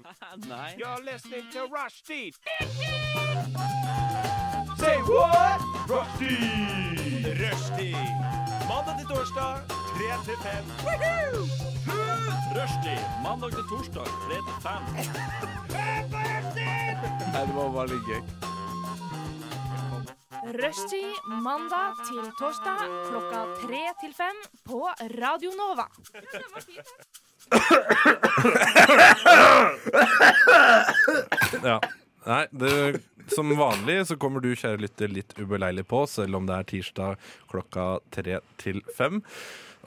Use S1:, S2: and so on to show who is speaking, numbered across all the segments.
S1: band.
S2: Nei.
S3: You're listening to Rushdie. Say what? Rushdie. Rushdie. Mandag til torsdag, 3 til 5. Rushdie. Mandag til torsdag, 3 til 5.
S2: Nei, det var veldig gøy.
S4: Rushtid mandag til torsdag klokka tre til fem på Radio Nova.
S5: Ja. Nei, det, som vanlig så kommer du, kjære lytter, litt ubeleilig på, selv om det er tirsdag klokka tre til fem.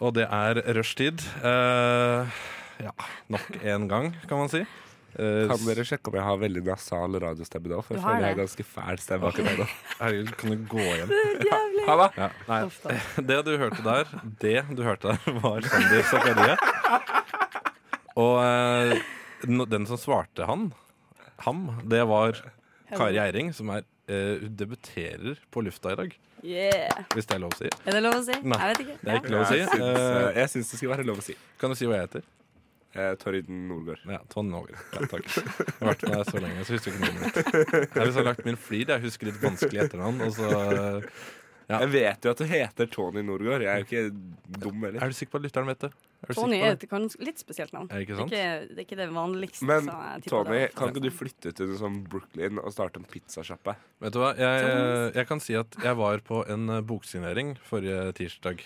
S5: Og det er rushtid. Eh, ja, nok en gang, kan man si. Eh,
S6: Kan dere sjekke om jeg har veldig nasal radiostemme nå? For
S4: Du
S6: jeg
S4: har
S6: føler jeg
S4: det.
S6: har ganske fæl stemme akkurat nå.
S5: Herregud, kan du gå hjem?
S6: Ha det!
S5: Ja, nei, det du hørte der, det du hørte der, var Sander Zakaria. Og eh, no- den som svarte han, ham, det var Kari Eiring, som er eh, Hun debuterer på lufta i dag,
S1: Yeah.
S5: hvis det er lov å si.
S1: Er det lov å si?
S5: Nei.
S1: Jeg vet ikke.
S5: Det er
S1: Ja.
S5: ikke lov å si.
S6: Jeg syns, eh,
S5: Eh,
S6: jeg syns det skal være lov å si.
S5: kan du si hva jeg heter?
S6: Eh, Torjuden Nordgård.
S5: Ja, Tonn Någel. Ja, takk. Jeg har vært med deg så lenge, så husker jeg ikke navnet mitt. Jeg har liksom lagt min flid. Jeg husker litt vanskelig etternavn. Og så eh, Er Ja.
S6: Jeg vet jo at du heter Tony Nordgård. Jeg er jo ikke dum heller.
S5: du sikker på at lytteren vet det? Er du
S1: Tony
S5: sikker
S1: er
S5: på det?
S1: et ganske- litt spesielt navn.
S5: Er det ikke sant?
S1: Det er ikke, det, er ikke det vanligste.
S6: Men
S1: så jeg tipper
S6: Tony,
S1: det var-
S6: kan ikke du flytte til sånn Brooklyn og starte en pizzasjappe?
S5: Vet du hva, jeg, eh,
S1: Thomas.
S5: jeg kan si at jeg var på en eh, boksignering forrige tirsdag.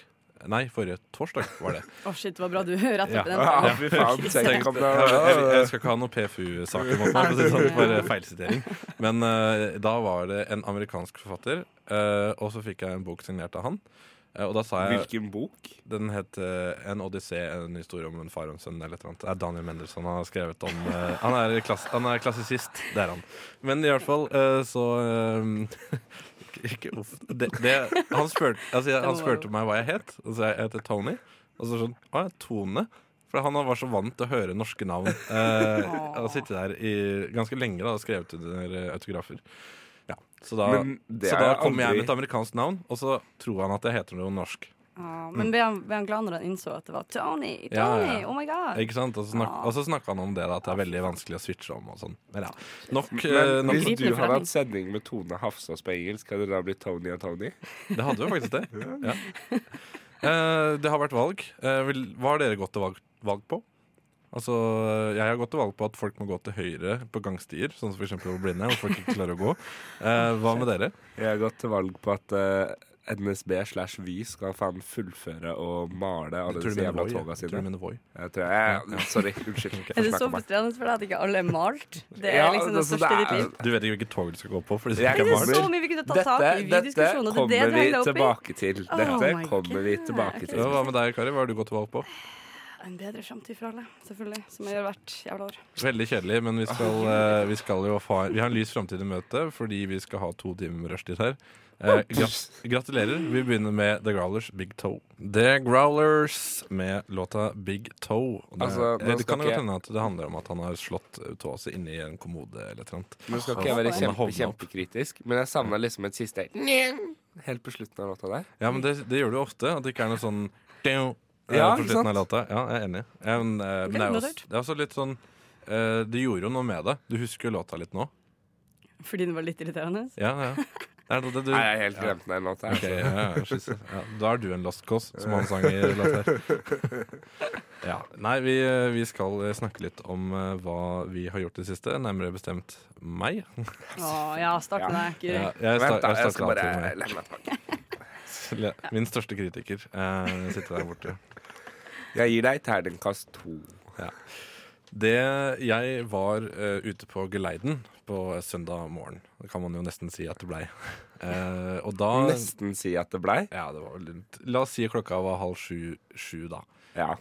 S5: Nei, forrige torsdag var det.
S1: Å, shit, det var bra du hører etter
S5: Ja.
S1: på den.
S6: Ja,
S1: Ja.
S6: fy faen. Tenk om det
S5: Jeg, jeg, jeg skal ikke ha noe PFU-saker mot meg for å si det sånn, for eh, feilsitering. Men eh, da var det en amerikansk forfatter, eh, og så fikk jeg en bok signert av han. Eh, og da sa jeg
S6: Hvilken bok?
S5: Den het eh, En odyssé, en historie om en far og en sønn. Eller et eller annet. Det er Daniel Mendelssohn han har skrevet om eh, han, er klass, han er klassisist, det er han. Men i hvert fall eh, så eh, ikke- Ikke uff. Det, det, han spurte altså, jeg- han spurte meg hva jeg het, og så jeg heter Tony. Og så sånn Å ja, Tone. For han var så vant til å høre norske navn. Eh, og sitte der i, ganske lenge da, og skrevet under eh, autografer. Ja, så da,
S6: Men det
S5: så
S6: er
S5: da kom jeg
S6: aldri-
S5: med et amerikansk navn, og så tror han at jeg heter noe norsk.
S1: Ja, Ah, men ble han, ble han glad når han innså at det var Tony? Tony,
S5: Ja, ja, ja.
S1: oh my god!
S5: Ikke sant? Og så snak-
S1: Ja.
S5: og så snakka han om det, da, at det er veldig vanskelig å switche om. og sånn Men ja, Nok, eh,
S6: Men
S5: nok
S6: hvis
S1: Gripende
S6: du hadde hatt
S1: forretning.
S6: sending med Tone Hafsås på engelsk, hadde det da blitt Tony og Tony?
S5: Det hadde jo faktisk det. Ja. Eh, det har vært valg. Eh, vil- hva har dere gått til valg, valg på? Altså, Jeg har gått til valg på at folk må gå til høyre på gangstier, sånn som for eksempel over Blindern, hvor folk ikke klarer å gå. Eh, hva med dere?
S6: Jeg har gått til valg på at eh, NSB slash Vy skal faen fullføre og male alle
S5: Tror du
S6: disse
S5: mener
S6: jævla
S5: Voi, ja?
S6: toga
S5: Tror du
S6: sine.
S5: mener Voi?
S6: Jeg tror jeg, sorry, unnskyld.
S1: Er det
S6: Forsnakka
S1: så
S6: meg.
S1: frustrerende for deg at ikke alle er malt? Det er
S6: Ja,
S1: liksom det
S6: altså,
S1: største
S6: det
S1: i ditt
S6: er-
S1: liv.
S5: Du vet ikke hvilket tog du skal gå på? Fordi det ikke
S6: Jeg
S5: er
S1: Det er
S5: malt.
S1: så mye vi kunne tatt tak i i
S6: dette
S1: videodiskusjonen, og det er
S6: kommer
S1: det det
S6: vi
S1: henger deg opp i.
S6: tilbake til.
S1: Oh
S6: Dette
S1: my
S6: kommer vi
S1: God.
S6: tilbake
S5: Ja,
S6: til.
S5: hva med deg, Kari? Hva har du gått til valg på?
S1: En bedre framtid for alle, selvfølgelig, som jeg gjør hvert jævla år.
S5: Veldig kjedelig, men vi skal, eh, vi skal jo ha Vi har en lys framtid i møte fordi vi skal ha to timer rushtid her.
S6: Oh,
S5: Eh, grat gratulerer. Vi begynner med The Growlers Big Toe. The Growlers med låta Big Toe. Og Det,
S6: Altså, nå
S5: eh, det
S6: skal
S5: kan jo
S6: ikke-
S5: hende at det handler om at han har slått eh, tåa si inni en kommode eller et eller annet.
S6: Nå skal ikke jeg
S5: Han
S6: være
S5: har
S6: kjempe,
S5: hovna opp.
S6: kjempekritisk, men jeg savna liksom et siste Helt på slutten av låta der.
S5: Ja, men det, det gjør du ofte. At det ikke er noe sånn «Deo», eh,
S6: Mm. Ja,
S5: på
S6: ikke
S5: slutten
S6: sant?
S5: av låta. Ja, jeg er enig. Eh, men, eh, men det er jo også, det er også litt sånn eh, Det gjorde jo noe med deg. Du husker jo låta litt nå.
S1: Fordi den var litt irriterende?
S5: Ja, ja. Det er det du,
S6: Nei, jeg har helt glemt den låta. altså.
S5: Ok, ja, ja, skisse. ja. Da er du en lost cause, som han sang i låt her. Ja. Nei, vi, eh, vi skal snakke litt om eh, hva vi har gjort i det siste. Nærmere bestemt meg.
S1: Å ja, start med deg, Guri.
S5: Ja, jeg sta-
S6: Vent, da. Jeg
S5: jeg
S6: skal
S5: starter
S6: bare
S5: alltid med
S6: legge meg tilbake.
S5: Le- Min største kritiker eh, sitter der borte.
S6: Jeg gir deg terningkast to.
S5: Det Jeg var eh, ute på geleiden på søndag morgen. Det kan man jo nesten si at det blei. Eh, og da
S6: Nesten si at det blei.
S5: Ja, det var vel litt La oss si klokka var halv sju, sju da.
S6: Ja.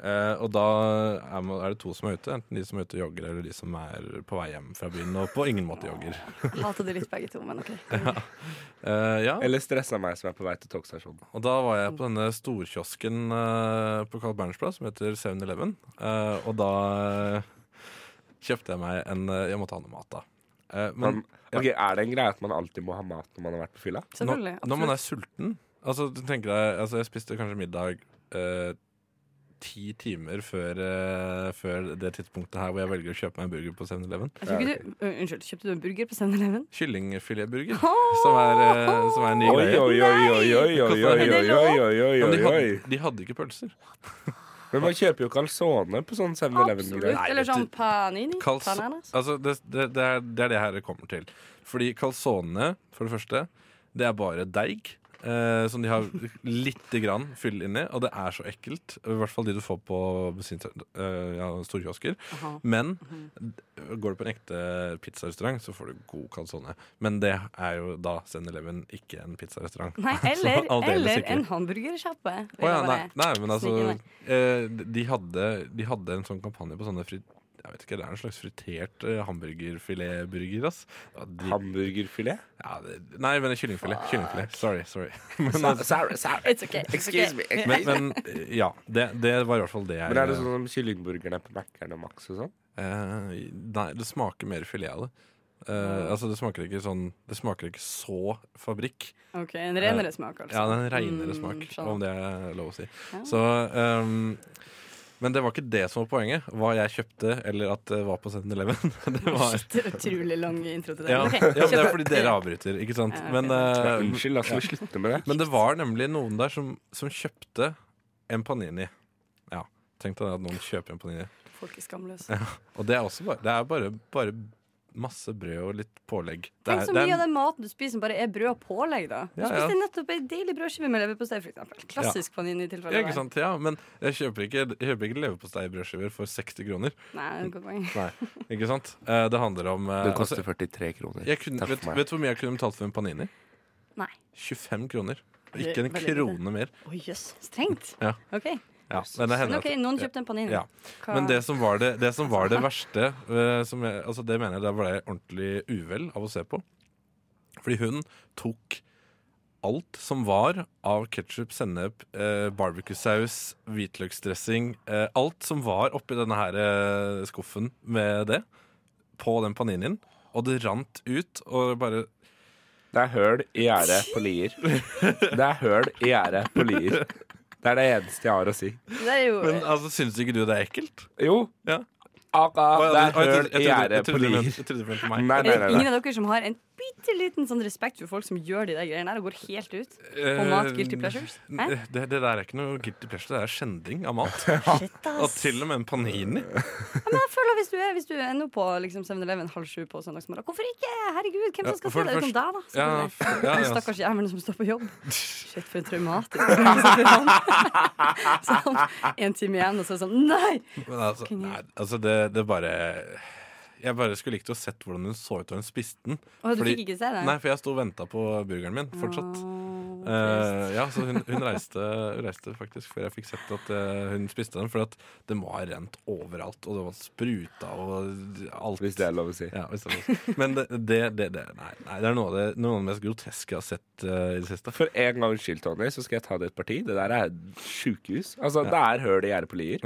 S5: Eh, og da er, man, er det to som er ute. Enten de som er ute og jogger, eller de som er på vei hjem fra byen og på ingen måte jogger.
S1: Jeg Hater de litt begge to, men OK.
S5: Eh, ja,
S6: Eller stressa meg som er på vei til togstasjonen.
S5: Og da var jeg på denne storkiosken eh, på Carl Berners plass som heter 7-Eleven. Eh, og da eh, kjøpte jeg meg en eh, Jeg måtte ha noe mat, da. Eh, men
S6: Men, ok, Er det en greie at man alltid må ha mat når man har vært på fylla?
S5: når,
S1: Selvfølgelig.
S5: når man
S1: absolutt.
S5: er sulten Altså, du tenker deg altså, Jeg spiste kanskje middag eh, ti timer før, eh, før det tidspunktet her hvor jeg velger å kjøpe meg en burger på 7-Eleven.
S1: Jeg tror ikke du, Ø, unnskyld, kjøpte du en burger på 7-Eleven?
S5: Kyllingfiletburger, som, er, eh, som er en ny
S6: Oi, oi,
S5: greie.
S6: oi, oi, oi, oi, oi, oi, oi, oi, oi,
S5: Ja, men de,
S6: oi, oi.
S5: hadde, de hadde ikke pølser.
S6: Men man kjøper jo calzone på sånn 7-Eleven-greier.
S1: Absolutt. Eller sånn panini?
S5: Kals,
S1: Bananas?
S5: altså, det, det, det, er, det er det her det kommer til. Fordi calzone, for det første, det er bare deig. eh, som de har lite grann fyll inni, og det er så ekkelt. I hvert fall de du får på bensinstasjon- eh, ja, storkiosker.
S1: Aha.
S5: Men går du på en ekte pizzarestaurant, så får du god calzone. Men det er jo da 7-Eleven ikke en pizzarestaurant.
S1: Nei,
S5: Så
S1: eller,
S5: aldeles
S1: eller
S5: ikke.
S1: en hamburgersjappe.
S5: Å
S1: vil
S5: ja,
S1: jeg
S5: nei,
S1: bare-
S5: nei, men altså
S1: snike
S5: eh, De hadde, de hadde en sånn kampanje på sånne fri, Jeg vet ikke, det er en slags fritert eh, hamburgerfiletburger, ass. Ja, de,
S6: Hamburgerfilet?
S5: ja, det, nei, men kyllingfilet. Kyllingfilet. Sorry. sorry altså,
S6: Sorry, sorry.
S1: It's okay. it's okay.
S6: Excuse me.
S5: Men, men eh, ja, det, det var i hvert fall det jeg
S6: Men er det sånn som kyllingburgerne på Mækkern og Max og sånn?
S5: eh, Nei, det smaker mer filet av det. Eh, altså det smaker ikke sånn Det smaker ikke så fabrikk.
S1: Ok, En renere smak, altså.
S5: Ja, det er en reinere
S1: Mm,
S5: smak,
S1: skjønner.
S5: om det er lov å si.
S1: Ja.
S5: Så, ehm, men det var ikke det som var poenget. Hva jeg kjøpte, eller at det var på 7-Eleven. Det var
S1: Shit, utrolig lang intro til det.
S5: ja,
S1: Ok,
S5: ja, men det er
S1: kjøp.
S5: fordi dere avbryter, ikke sant?
S1: Ja, ok.
S5: Men, eh,
S6: Unnskyld, la oss slutte med det.
S5: men det var nemlig noen der som, som kjøpte en panini. Ja, tenk deg at noen kjøper en panini.
S1: Folk er skamløse.
S5: Og det er også bare, det er bare, bare masse brød og litt pålegg. Det
S1: Tenk
S5: er,
S1: så
S5: det er,
S1: mye av den maten du spiser, som bare er brød og pålegg, da. Du
S5: Ja, ja.
S1: spiste nettopp ei deilig brødskive med leverpostei, for eksempel. Klassisk panini-tilfelle.
S5: ja, ikke sant? Ja, men jeg kjøper ikke, jeg kjøper ikke leverposteibrødskiver for 60 kroner.
S1: Nei, det er et godt poeng.
S5: Ikke sant? Eh, Det handler om eh,
S6: Den
S5: altså-
S6: koster 43 kroner.
S5: Jeg kunne,
S6: Takk
S5: vet,
S6: for meg.
S5: vet du hvor mye jeg kunne betalt for en panini?
S1: Nei.
S5: 25 kroner.
S1: Det
S5: Ikke
S1: er
S5: en
S1: veldig lite.
S5: krone mer.
S1: Å jøss, strengt.
S5: Ja.
S1: Ok,
S5: Ja, men det
S1: Men
S5: hender
S1: ok,
S5: at-
S1: noen kjøpte en panini.
S5: Ja.
S1: Hva-
S5: Men det som var det, det, som var det verste, eh, som jeg, altså det mener jeg da ble jeg ordentlig uvel av å se på. Fordi hun tok alt som var av ketsjup, sennep, eh, barbecuesaus, hvitløksdressing eh, Alt som var oppi denne her eh, skuffen med det, på den paninien. Og det rant ut, og bare
S6: Det er høl i gjerdet på Lier. Det er høl i gjerdet på Lier. Det er det eneste jeg har å si.
S1: det er jo
S5: Men altså, syns ikke du det er ekkelt?
S6: Jo.
S5: Ja.
S6: Aka,
S5: Å,
S6: det er
S5: ja,
S6: høl i gjerdet på
S5: du mente-
S6: Lier.
S5: jeg trodde du mente
S6: Nei,
S5: meg.
S6: nei,
S1: er det
S6: nei.
S1: Eh, ingen
S6: nei.
S1: av dere som har en bitte liten sånn respekt for folk som gjør de der greiene der og går helt ut? På mat, guilty pleasures? Hæ?
S5: Eh, Det, det der er ikke noe guilty pleasure, det er skjending av mat. Og til og med en panini.
S1: Men jeg føler hvis du er, hvis du er nå på liksom 7-Eleven halv sju på søndagsmorgen, hvorfor ikke? Herregud, hvem som
S5: Ja,
S1: skal
S5: for
S1: se
S5: det
S1: deg utenom deg, da?
S5: Ja,
S1: selvfølgelig.
S5: f- ja,
S1: Den
S5: ja.
S1: stakkars jævelen som står på jobb. Shit, for en traumatisk opplevelse. Sånn en time igjen, og så er det sånn Nei!
S5: Men altså, nei, altså det, det bare Jeg bare skulle likt å sett hvordan hun så ut da hun spiste den.
S1: Og du
S5: Fordi-
S1: fikk ikke se det?
S5: Nei, for jeg sto og venta på burgeren min fortsatt.
S1: Åh, trist.
S5: Eh, ja, så hun, hun reiste, hun reiste faktisk før jeg fikk sett at eh, hun spiste den. For at det må ha rent overalt, og det var spruta og alt.
S6: Hvis det er lov å si.
S5: Ja, hvis det er lov. Men det, det, det, det, nei, nei, det er noe av det, noe av det mest groteske jeg har sett eh, i det siste.
S6: For en gangs skyld, Tony, så skal jeg ta det et parti. Det der er sjukehus. Altså, det er høl i gjerdet på Lier.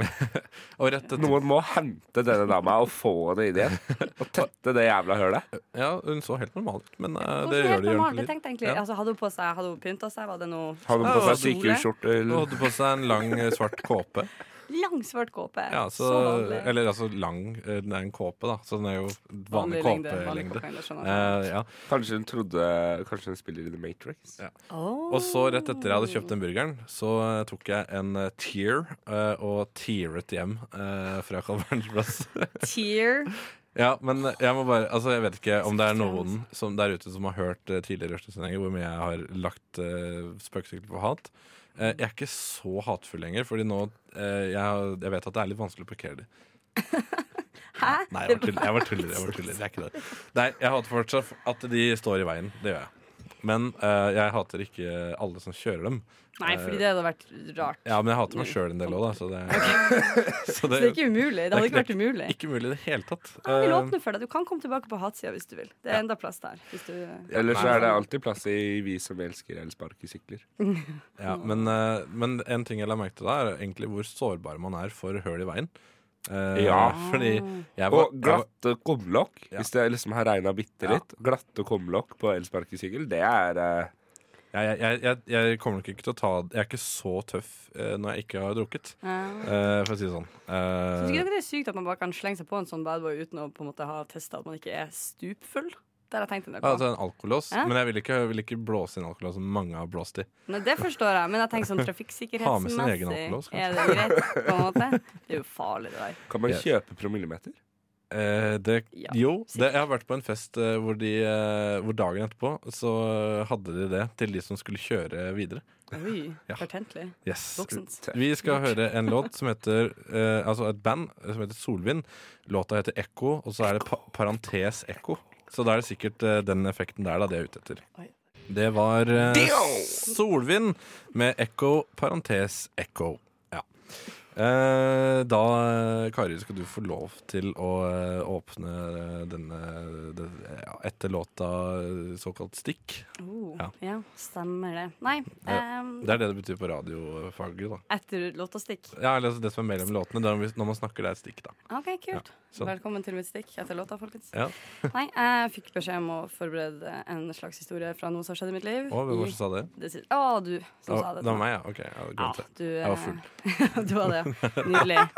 S5: Og rett etter,
S6: Noen må hente denne dama og få henne inn igjen. Og tette det jævla hølet.
S5: ja, hun så helt normal ut, men eh, det
S1: Hvorfor
S5: gjør
S1: helt
S5: det
S1: normalt? Jeg
S5: Jørn
S1: tenkte egentlig
S5: Ja.
S1: altså, Hadde hun på seg Hadde hun pynta seg? Var det noe
S6: Hadde hun på seg sykehusskjorte.
S5: Hun
S6: eller-
S5: hadde på seg en lang, eh, svart kåpe.
S1: lang, svart kåpe?
S5: Ja, så,
S1: vanlig.
S5: eller altså lang eh, Den er en kåpe, da, så den er jo vanlig
S1: lengde, vanlig
S5: kåpelengde.
S1: kåpelengde, skjønner jeg.
S5: Eh, ja.
S6: Kanskje hun trodde Kanskje hun spiller i The Matrix.
S1: Åh.
S5: Og så rett etter jeg hadde kjøpt den burgeren, så eh, tok jeg en eh, tear eh, og tearet hjem eh, fra Kalverns plass.
S1: Tear.
S5: ja, men jeg må bare Altså, jeg vet ikke om det er noen som der ute som har hørt eh, tidligere Rushtidssendinger hvor mye jeg har lagt uh, spøkelsesykler på hat. Eh, jeg er ikke så hatefull lenger, fordi nå eh, jeg, har- jeg vet at det er litt vanskelig å parkere de.
S1: Hæ?
S5: Nei, jeg var tuller. Jeg var tuller, jeg var tuller. Det er ikke det. Nei, jeg hater fortsatt at de står i veien. Det gjør jeg. Men eh, jeg hater ikke alle som kjører dem.
S1: Nei, fordi det hadde vært rart.
S5: Ja, men jeg hater meg sjøl en del òg, da. Så det, så
S1: Så det er ikke umulig. Det hadde ikke
S5: det er
S1: vært umulig.
S5: ikke mulig i det hele tatt.
S1: Jeg vil
S5: Eh,
S1: åpne for deg. Du kan komme tilbake på hatsida hvis du vil. Det er enda plass der. Hvis du
S5: Eh.
S6: Eller så er det alltid plass i Vi som elsker elsparkesykler.
S5: ja,
S1: Mm.
S5: men, eh, men en ting jeg la merke til da, er egentlig hvor sårbar man er for høl i veien. Eh,
S6: Ja.
S5: Fordi jeg var,
S6: Og glatte kumlokk,
S5: Ja.
S6: hvis det liksom har regna bitte litt. Glatte kumlokk på elsparkesykkel, det er eh,
S5: Jeg, jeg, jeg, jeg kommer nok ikke til å ta Jeg er ikke så tøff eh, når jeg ikke har drukket,
S1: Ja.
S5: eh, for å si det sånn. Eh,
S1: Syns ikke dere det er sykt at man bare kan slenge seg på en sånn badboy uten å på en måte ha testa at man ikke er stupfull? Det har jeg tenkt en del
S5: ja,
S1: på.
S5: altså en alkolås,
S1: Ja.
S5: men jeg vil ikke, jeg vil ikke blåse inn alkolås som mange har blåst i.
S1: Nei, det forstår jeg, men jeg tenker
S5: Ha med sin
S1: sånn
S5: egen
S1: trafikksikkerhetsmessig
S5: alkolås, kanskje.
S1: Er det greit, på en måte? Det er jo farlig, det der.
S6: Kan man
S5: Yes.
S6: kjøpe promillemeter?
S5: Eh, det,
S1: Ja,
S5: jo, det,
S1: sikkert.
S5: jeg har vært på en fest eh, hvor, de, eh, hvor dagen etterpå så hadde de det til de som skulle kjøre videre.
S1: Oi,
S5: Ja.
S1: fortentlig.
S5: Yes.
S1: Voksent.
S5: Vi skal høre en låt som heter eh, Altså et band som heter Solvind. Låta heter Ekko, og så er det pa parentes ekko. Så da er det sikkert eh, den effekten der da det er ute etter.
S1: Oi.
S5: Det var eh, Solvind med ekko, parentes ekko. Ja. Eh, da, eh, Kari, skal du få lov til å eh, åpne denne det, ja, etter låta eh, såkalt stikk.
S1: Oh,
S5: Ja.
S1: ja. stemmer det. Nei, ehm,
S5: Det er det det betyr på radiofaget, da.
S1: etter låt og stikk.
S5: Ja, eller altså det som er mellom låtene. Det er når vi- når man snakker, det er et stikk, da.
S1: OK, kult.
S5: sånn.
S1: Velkommen til mitt stikk etter låta, folkens.
S5: Ja.
S1: Nei, jeg fikk beskjed om å forberede en slags historie fra noe som har skjedd i mitt liv.
S5: Å, hvem var det
S1: I
S5: som sa det?
S1: det siste- Å, du som
S5: Å,
S1: sa
S5: det
S1: det. til
S5: var
S1: meg.
S5: meg, ja. Ok, jeg hadde
S1: Ja,
S5: glemt det.
S1: du,
S5: Jeg var full.
S1: eh, du var det, ja. Nydelig.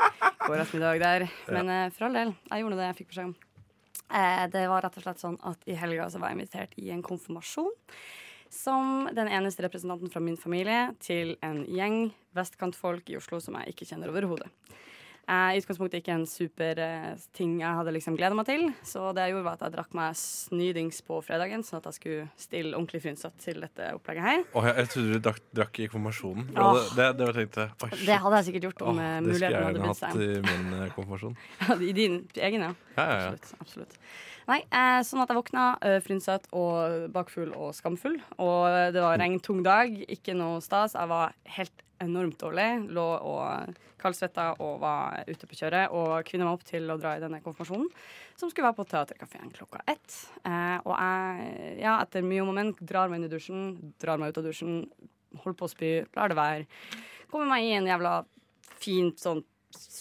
S1: God ettermiddag der. Men eh, for all del, jeg gjorde det jeg fikk beskjed om. Eh, det var rett og slett sånn at i helga så var jeg invitert i en konfirmasjon. Som den eneste representanten fra min familie til en gjeng vestkantfolk i Oslo som jeg ikke kjenner overhodet. Eh, I utgangspunktet ikke en super eh, ting jeg hadde liksom gleda meg til. Så det jeg gjorde, var at jeg drakk meg snydings på fredagen, sånn at jeg skulle stille ordentlig frynset til dette opplegget her.
S5: Å, jeg, jeg trodde du drakk, drakk i konfirmasjonen.
S1: Åh.
S5: Og Det, det, det var tenkte jeg, oi, shit.
S1: Det hadde jeg sikkert gjort om
S5: Åh, det
S1: eh,
S5: skulle jeg
S1: muligheten hadde
S5: gjerne
S1: bydd
S5: hatt
S1: seg.
S5: i min eh, konfirmasjon.
S1: I din egen, ja.
S5: Ja, ja, ja.
S1: Absolutt. absolutt. Nei, eh, sånn at jeg våkna eh, frynset og bakfull og skamfull. Og det var regntung dag, ikke noe stas. Jeg var helt enormt dårlig. Lå og kaldsvetta og var ute på kjøret. Og kvinna meg opp til å dra i denne konfirmasjonen, som skulle være på Theaterkafeen klokka ett. Eh, og jeg, ja, etter mye om og men, drar meg inn i dusjen, drar meg ut av dusjen, holder på å spy, lar det være. Kommer meg i en jævla fint sånn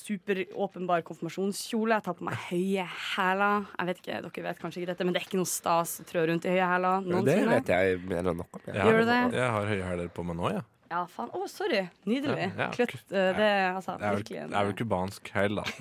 S1: superåpenbar konfirmasjonskjole. Jeg tar på meg høye hæler. Jeg vet ikke, Dere vet kanskje ikke dette, men det er ikke noe stas å trå rundt i høye hæler
S6: Det
S1: noensinne.
S6: vet jeg mer enn nok om. jeg.
S5: Jeg
S1: Gjør
S5: har-
S1: du det?
S5: Jeg har høye hæler på meg nå, ja.
S1: Ja, faen. Å, sorry. Nydelig.
S5: Ja, ja.
S1: Kløtt. eh, Det er
S5: Jeg
S1: altså
S5: er vel,
S1: virkelig
S5: jeg
S1: en
S5: er vel kubansk hæl, da. Det,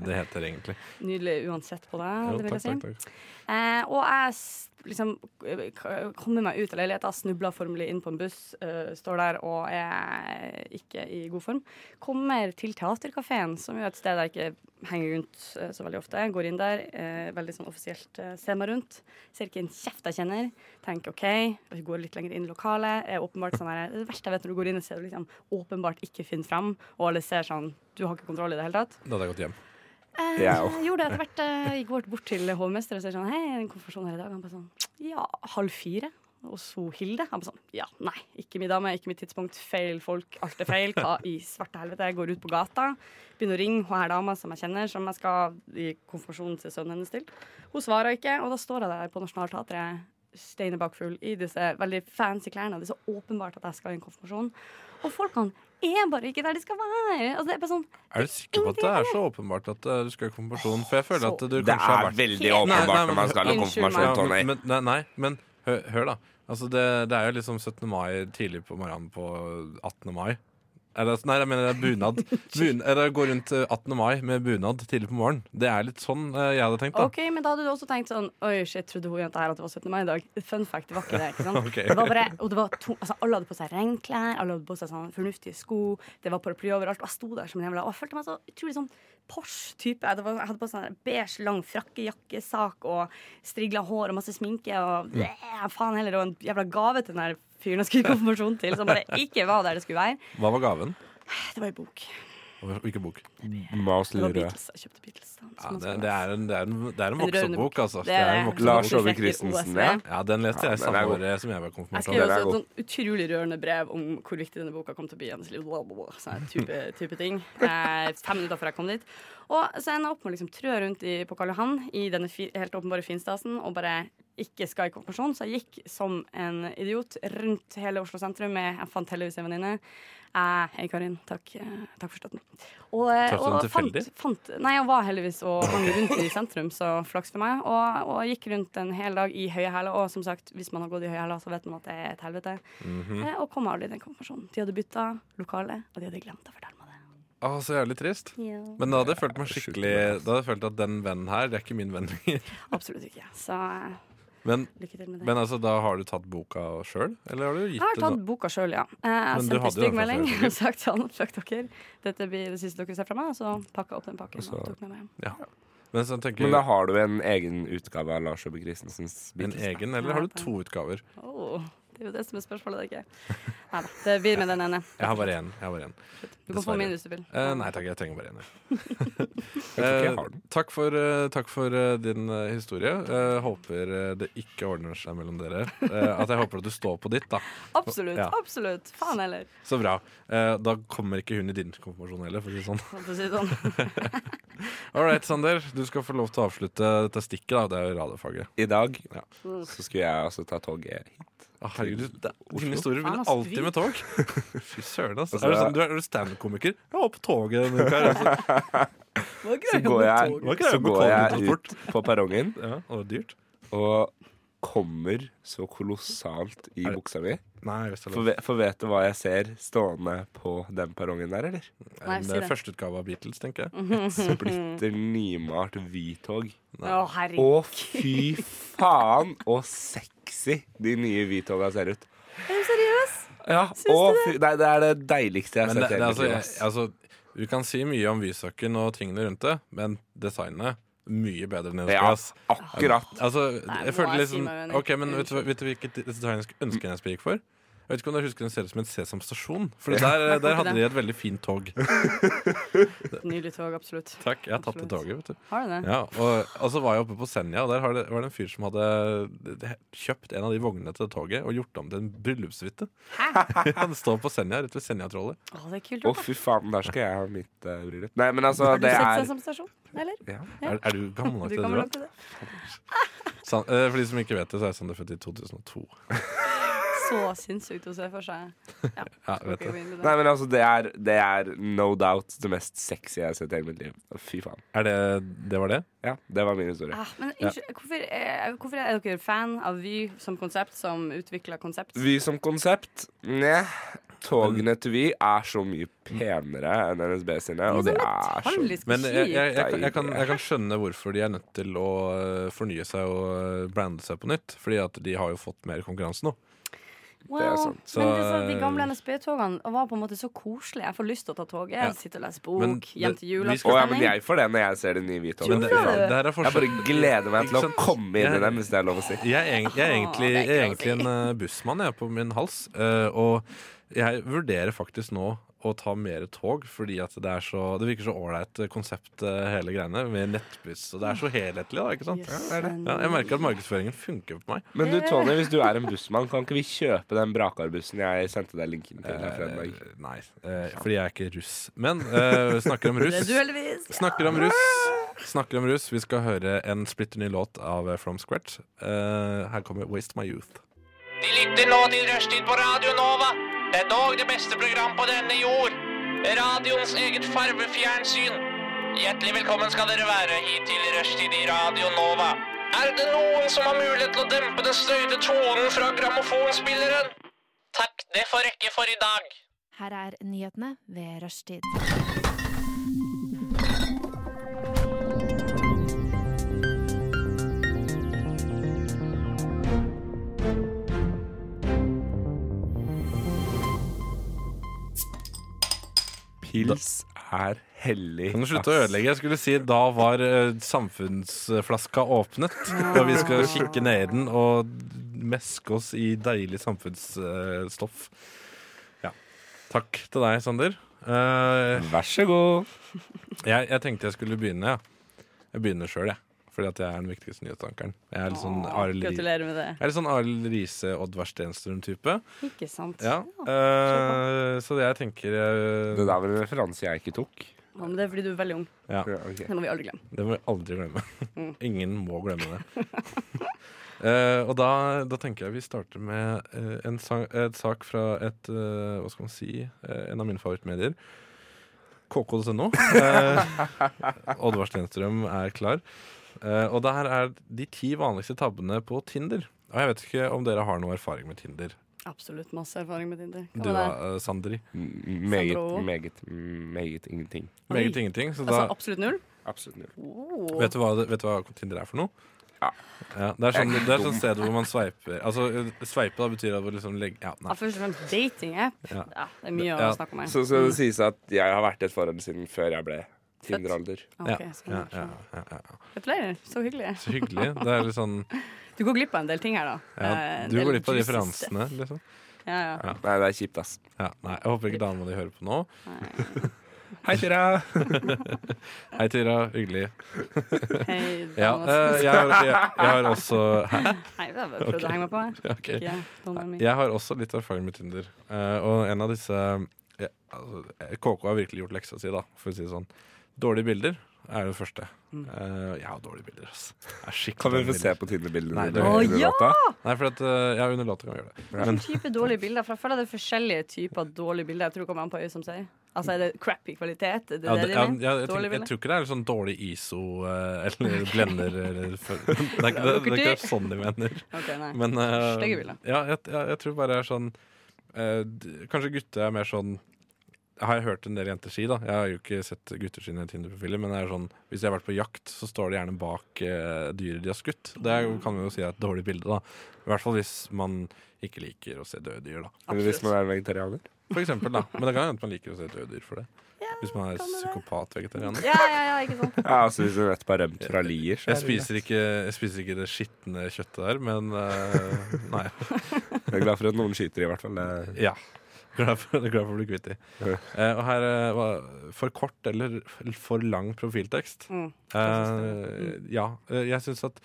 S5: det, det heter egentlig.
S1: nydelig uansett på deg,
S5: Jo,
S1: det
S5: takk,
S1: vil jeg si.
S5: takk, takk.
S1: Eh, og jeg s- liksom eh, k- kommer meg ut av leiligheta, snubler formelig inn på en buss, eh, står der og er ikke i god form. Kommer til Teaterkafeen, som jo er et sted jeg ikke henger rundt eh, så veldig ofte. Går inn der, eh, veldig sånn offisielt eh, ser meg rundt. Ser ikke en kjeft jeg kjenner. Tenker OK, vi går litt lenger inn i lokalet. Er åpenbart sånn her, det verste jeg vet når du går inn og ser du liksom åpenbart ikke finner fram, og alle ser sånn Du har ikke kontroll i det hele tatt.
S5: Da hadde jeg gått hjem.
S1: Eh,
S6: Ja.
S1: jeg gjorde det etter hvert. eh, Jeg går bort til hovmester og sier sånn Hei, er det en konfirmasjon her i dag? Han bare sånn Ja, halv fire. Og så Hilde. Han bare sånn Ja, nei. Ikke min dame, ikke mitt tidspunkt. Feil folk. Alt er feil. Hva i svarte helvete? Jeg går ut på gata, begynner å ringe hun her dama som jeg kjenner, som jeg skal i konfirmasjonen til sønnen hennes til. Hun svarer ikke, og da står jeg der på Nationaltheatret, steiner bakfull, i disse veldig fancy klærne. Det er så åpenbart at jeg skal i en konfirmasjon. Og folkene er bare ikke der de skal være. Altså, det er bare sånn
S5: Er du sikker på at det er så åpenbart at eh, du skal i konfirmasjon? For jeg føler at du
S6: Det
S5: kanskje har
S6: er
S5: vært
S6: veldig
S1: Nei,
S5: nei,
S6: åpenbart
S5: men-
S6: når man skal ha
S1: Unnskyld meg.
S6: konfirmasjon,
S5: Ja,
S6: Tony.
S5: men, men, nei, nei, men hør, hør da. Altså det, det er jo liksom 17. mai tidlig på morgenen på 18. mai. Eller, altså, nei, jeg mener det er bunad. Bun, eller gå rundt eh, 18. mai med bunad tidlig på morgenen. Det er litt sånn eh, jeg hadde tenkt, da.
S1: Ok, men da hadde du også tenkt sånn Oi, shit, trodde hun jenta her at det var 17. mai i dag? Fun fact, det var ikke det. ikke sant?
S5: Ok.
S1: Det var bare, og det var to, altså, alle hadde på seg regnklær, alle hadde på seg sånn fornuftige sko, det var paraply overalt. Og jeg sto der som en jævla Og jeg følte meg så utrolig sånn Porsche-type. Det var- Jeg hadde på sånn beige, lang frakkejakkesak og strigla hår og masse sminke
S5: Mm.
S1: og yeah, faen heller, og en jævla gave til den der fyren jeg skulle i konfirmasjon til, som bare ikke var der det skulle være.
S5: Hva var gaven?
S1: Det var ei bok.
S5: Og Ikke bok.
S6: Mas
S1: Det var
S6: Lure.
S1: Beatles. Jeg kjøpte Beatles. da,
S5: Ja,
S1: som jeg
S5: det,
S1: skal
S5: det, er en, det, er en, det er en
S1: En rørende
S5: voksenbok, altså. Det er en
S1: det.
S6: Lars
S5: voksenbok.
S6: Ove Christensen,
S1: OSV.
S6: ja.
S5: Ja, den leste
S6: Ja,
S5: jeg
S6: den
S5: samme
S6: er god.
S5: året som jeg var
S1: Jeg
S5: konfirmert.
S6: Den
S1: skrev
S6: er
S1: også et
S6: god.
S1: sånn utrolig rørende brev om hvor viktig denne boka kom til å bli i hennes liv. Blablabla, Sånne type, type ting. Eh, fem minutter før jeg kom dit. Og så ender jeg opp med å liksom trø rundt i, på Karl Johan i denne fi, helt åpenbare finstasen og bare ikke skal i konfirmasjon. Så jeg gikk som en idiot rundt hele Oslo sentrum. Med, jeg fant heldigvis en venninne. Eh, hei, Karin. Takk, eh, takk for støtten. Og, eh,
S5: Traff du
S1: og
S5: den
S1: fant,
S5: tilfeldig?
S1: fant, nei, jeg var heldigvis og hang rundt i sentrum, så flaks for meg. Og, og gikk rundt en hel dag i høye hæler. Og som sagt, hvis man har gått i høye hæler, så vet man at det er et helvete.
S5: Mhm.
S1: eh, og kom aldri i den konfirmasjonen. De hadde bytta lokale, og de hadde glemt å fortelle meg det.
S5: Å, så jævlig trist. Men da hadde jeg følt meg skikkelig Da hadde jeg følt at den vennen her, det er ikke min venn lenger.
S1: Absolutt ikke. Så eh,
S5: Men,
S1: lykke til med det.
S5: men altså, da har du tatt boka sjøl, eller har du gitt
S1: Jeg har
S5: det
S1: tatt boka sjøl, ja. Eh,
S5: Men du
S1: Jeg sendte en
S5: hadde jo den
S1: stygg
S5: fra
S1: melding
S5: før,
S1: og sagt til han fuck dere, dette blir det siste dere ser fra meg. Og så pakka jeg opp den pakken
S5: Så-
S1: og tok med meg hjem.
S5: Ja. Men så tenker
S6: Men da
S5: jeg
S6: har du en egen utgave av Lars Jobbe Christensens
S5: en
S6: Beatles.
S5: egen, eller har du to utgaver?
S1: Åh, det er jo det som er spørsmålet, det er ikke Nei da, det blir med den ene.
S5: Jeg har bare én. Jeg har bare én.
S1: Du kan få
S5: dessverre.
S1: min hvis du vil.
S5: Eh, nei takk, jeg trenger bare én. jeg.
S6: Jeg tror ikke jeg
S5: Eh,
S6: har den.
S5: takk for, eh, takk for eh, din eh, historie. Eh, håper eh, det ikke ordner seg mellom dere. Eh, at jeg håper at du står på ditt, da.
S1: Absolutt.
S5: Ja.
S1: absolutt Faen heller,
S5: Så bra. Eh, da kommer ikke hun i din konfirmasjon heller, for å si det sånn.
S1: for å si det sånn.
S5: All right, Sander. Du skal få lov til å avslutte dette stikket. da, Det er jo radiofaget.
S6: I dag
S5: Ja.
S6: så skulle jeg altså ta toget hit.
S5: Ah, herregud, det, dine historier
S1: Faen,
S5: begynner
S1: ass,
S5: alltid
S1: drit.
S5: med tog. Fy søren, ass.
S6: Altså,
S5: er du, sånn, du er, er du standup-komiker? Jeg var på toget denne uka. her, altså.
S6: Så går jeg,
S5: Hva greier
S6: så
S5: med
S6: går jeg
S5: kollektivtransport?
S6: ut på perrongen
S5: Ja, og det var dyrt.
S6: og kommer så kolossalt i
S5: Er det-
S6: buksa mi.
S5: Nei, hvis det er
S6: For,
S5: lov.
S6: ve- for vet du hva jeg ser stående på den perrongen der, eller?
S1: Nei,
S5: En,
S1: si
S5: eh,
S1: det. Mm.
S5: Førsteutgave av Beatles, tenker jeg.
S6: Splitter nymalt Vy-tog.
S1: Å, herregud.
S6: Å, fy faen og sexy de nye Vy-toga ser ut.
S1: Er du seriøs?
S6: Ja, å, fy, nei, det er det deiligste jeg
S5: Men det,
S6: har sett.
S5: det, er altså, jeg,
S6: hele mitt liv, ass.
S5: altså, du kan si mye om Vysaken og tingene rundt det, men designet mye bedre enn jeg
S6: Ja,
S5: skulle. ass.
S6: akkurat.
S5: Altså,
S1: Nei,
S5: jeg
S1: må
S5: følte
S1: jeg si
S5: liksom
S1: meg uenig.
S5: Ok, men vet du, hva- vet du hvilket design jeg skulle ønske jeg gikk for? Jeg vet ikke om dere husker den ser ut som en Sesam stasjon. For der, der hadde de et veldig fint tog.
S1: Nydelig tog, absolutt.
S5: Takk, jeg har tatt det
S1: Absolutt.
S5: toget, vet du.
S1: Har du det?
S5: Ja, og, og så var jeg oppe på Senja, og der har det, var det en fyr som hadde eh, kjøpt en av de vognene til det toget og gjort om til en bryllupssuite. Han står på Senja, rett ved Senjatrollet.
S1: Å, det er kult
S6: Å,
S1: gjort. da.
S6: fy faen, der skal jeg ha mitt eh, bryllup. Nei, men altså,
S1: Har du
S6: det
S1: sett
S6: er
S1: seg som stasjon, eller?
S6: ja.
S5: Er, er du gammel nok til
S1: Du
S5: det?
S1: kan
S5: du da?
S1: vel opp til det?
S5: San, eh, for de som ikke vet det, så er Sander født i 2002.
S1: Så sinnssykt å se for seg. Ja,
S5: Ja,
S1: skal
S5: vet
S1: ikke
S5: det.
S1: gå inn i det.
S6: Nei, men altså, det er, det er no doubt det mest sexy jeg har sett i hele mitt liv. Å, Fy faen.
S5: Er det, det var det?
S6: Ja, det var min historie.
S1: Ah, men unnskyld, hvorfor, eh, hvorfor er dere fan av Vy som konsept, som utvikla konsept?
S6: Vy som konsept Nei. Togene til Vy er så mye penere enn NSB sine, og det
S1: sånn
S6: er så
S1: Harmløst
S5: Men jeg, jeg, jeg, kan- jeg, kan,
S6: deilig.
S5: jeg kan skjønne hvorfor de er nødt til å eh, fornye seg og eh, brande seg på nytt. Fordi at de har jo fått mer konkurranse nå.
S1: Wow.
S6: er sant.
S5: Så- eh,
S1: men det er sånn, at de gamle NSB-togene var på en måte så koselige. Jeg får lyst til å ta toget.
S5: Ja.
S1: Sitte og lese
S5: Men
S1: bok.
S5: det-
S1: Hjem til jul.
S5: vi
S1: alt
S5: skal-
S6: Å ja,
S1: for
S6: men
S1: stemning.
S6: jeg får det når jeg ser de nye Vy-togene.
S5: Men det,
S6: Fy faen.
S5: det her er
S6: Jeg bare
S5: forskjell.
S6: gleder meg til å
S5: Ikke sant?
S6: komme inn i
S5: Jeg-
S6: dem, hvis det er lov å si.
S5: Jeg er, egent- jeg er egentlig,
S1: det er
S5: jeg er
S1: ikke
S5: egentlig en eh, bussmann jeg, på min hals. eh, og jeg vurderer faktisk nå å ta mer tog, fordi at det, er så, det virker så ålreit eh, konsept, eh, hele greiene, med nettbuss. Og det er så helhetlig, da. ikke sant? Ja, jeg merker at markedsføringen funker på meg.
S6: Men du, Tony, hvis du er en bussmann, kan ikke vi kjøpe den Brakar-bussen jeg sendte deg linken til her for en dag?
S5: Eh, nei, eh, fordi jeg er ikke russ. Men eh, snakker om
S1: Det
S5: russ.
S1: er du heldigvis.
S5: Snakker om russ. Snakker om russ. Vi skal høre en splitter ny låt av eh, From Scratch. Eh, her kommer 'Waste My Youth'.
S2: De lytter nå til Rushtid på Radio Nova. Det er dog det beste program på denne jord. Radioens eget farvefjernsyn. Hjertelig velkommen skal dere være hit til Rushtid i Radio Nova. Er det noen som har mulighet til å dempe den støyte tonen fra grammofonspilleren? Takk, det får rekke for i dag.
S7: Her er nyhetene ved rushtid.
S6: Pils er hellig.
S5: Kan du slutte å
S6: ass.
S5: ødelegge? Jeg skulle si Da var eh, samfunnsflaska åpnet. Og vi skal kikke ned i den og meske oss i deilig samfunnsstoff. ja. Takk til deg, Sander. Eh,
S6: Vær så god.
S5: jeg, jeg tenkte jeg skulle begynne. Ja. Jeg begynner sjøl, jeg. Fordi at jeg er den viktigste nyhetsankeren. Jeg er litt sånn Arild Ri-
S1: Gratulerer med det.
S5: jeg er litt sånn Arild Riise, Oddvar Stenstrøm-type.
S1: Ikke sant.
S5: Ja. eh, så jeg tenker
S6: Det
S5: eh,
S6: der var en referanse jeg ikke tok.
S1: Ja, men det er fordi du er veldig ung.
S5: ja,
S6: Ja, ok.
S1: Det må vi aldri glemme.
S5: Mm. Det må vi aldri glemme. Ingen må glemme det. Eh, og da, da tenker jeg vi starter med eh, en sang, et sak fra et eh, Hva skal man si? eh, en av mine favorittmedier. KK.no. Eh, Oddvar Stenstrøm er klar. Eh, og der er de ti vanligste tabbene på Tinder. Og jeg vet ikke om dere har noe erfaring med Tinder.
S1: Absolutt masse erfaring med Tinder. Hva
S5: Du
S1: med
S5: da,
S1: deg?
S5: eh, Sandri.
S6: M- Meget,
S1: Sandro.
S6: meget, meget ingenting.
S5: Meget ingenting. Så da,
S1: Altså absolutt null?
S6: Absolutt null.
S1: Oh.
S5: vet, du hva, det- vet du hva Tinder er for noe?
S6: Ja.
S5: Ja, det er sånn,
S6: Jeg er
S5: det er
S6: dum.
S5: sånn sted hvor man sveiper Altså, eh, sveipe da betyr at du liksom legger Ja,
S1: Ja,
S5: nei.
S1: først og fremst datingapp.
S5: Ja.
S1: Ja. det er mye
S5: Ja.
S1: å snakke om her.
S6: Så skal det sies at jeg har vært i et forhold siden før jeg ble Tinder-alder.
S5: Ja,
S1: Ok, sånn,
S5: ja, ja,
S1: sånn.
S5: ja, ja.
S1: Gratulerer. Så hyggelig.
S5: Så hyggelig. Det er litt sånn
S1: Du går glipp av en del ting her, da. Eh,
S5: ja,
S1: en
S5: Du
S1: del
S5: går litt på
S1: juicy stuff.
S5: referansene, liksom.
S1: Ja, ja.
S6: Nei, det er kjipt, ass.
S5: Ja, nei, jeg håper ikke dama di hører på nå.
S1: Nei.
S5: Hei, Tyra! Hei, Tyra. Hyggelig.
S1: Hei,
S5: Ja,
S1: Donald.
S5: eh, jeg, har, jeg, jeg har også Hæ?
S1: Nei, jeg bare prøvde å henge meg på her.
S5: Ja, ok.
S1: Ikke Donald min.
S5: Jeg har også litt erfaring med Tinder. Eh, og en av disse ja, altså, KK har virkelig gjort leksa si, da, for å si det sånn. Dårlige bilder er det første.
S1: Mm.
S5: Eh, jeg har dårlige bilder, ass. Jeg er skikkelig
S6: Kan vi få
S5: dårlige
S6: se
S5: bilder.
S6: på Tinder-bildene
S5: Nei,
S6: dine under
S1: det- Å, ja!
S6: låta?
S5: Nei, for at, eh, ja, under låta kan vi gjøre det.
S6: Ja.
S5: Men
S1: type dårlige bilder? For jeg føler det er forskjellige typer dårlige bilder. Jeg tror det kommer an på øyet som sier. Altså, er det crappy kvalitet? Er det
S5: ja,
S1: det
S5: det,
S1: de
S5: ja,
S1: mener?
S5: ja, jeg, tenker,
S1: Dårlige
S5: jeg
S1: bilder?
S5: tror ikke det er sånn dårlig ISO eh, eller blender eller for, Det er ikke det, det, er ikke sånn de mener.
S1: Ok, nei.
S5: Men eh,
S1: Stygge bilder.
S5: ja, jeg, jeg, jeg tror bare det er sånn eh, d- Kanskje gutter er mer sånn Har jeg hørt en del jenter si, da. Jeg har jo ikke sett gutter sine Tinder-profiler, men det er sånn, hvis de har vært på jakt, så står det gjerne bak eh, dyret de har skutt. Det er, jo- kan vi jo si er et dårlig bilde, da. I hvert fall hvis man ikke liker å se døde dyr, da.
S6: Eller hvis man er vegetarianer?
S5: For eksempel, da. Men det kan hende at man liker å se døde dyr for det. Hvis man er psykopat-vegetarianer.
S1: Ja, ja, ja, ikke sant.
S6: Ja, altså Hvis du nettopp har rømt fra lier, så er
S5: Jeg
S6: det
S5: spiser, ikke, jeg spiser ikke det skitne kjøttet der, men eh, Nei.
S6: greit. Jeg er glad for at noen skyter, i hvert fall. Det-
S5: Ja. Glad for, glad for å bli kvitt de.
S6: Ja.
S5: Eh, og her eh, hva- For kort eller f- for lang profiltekst?
S1: Mm.
S5: Eh, ja. eh, Jeg syns at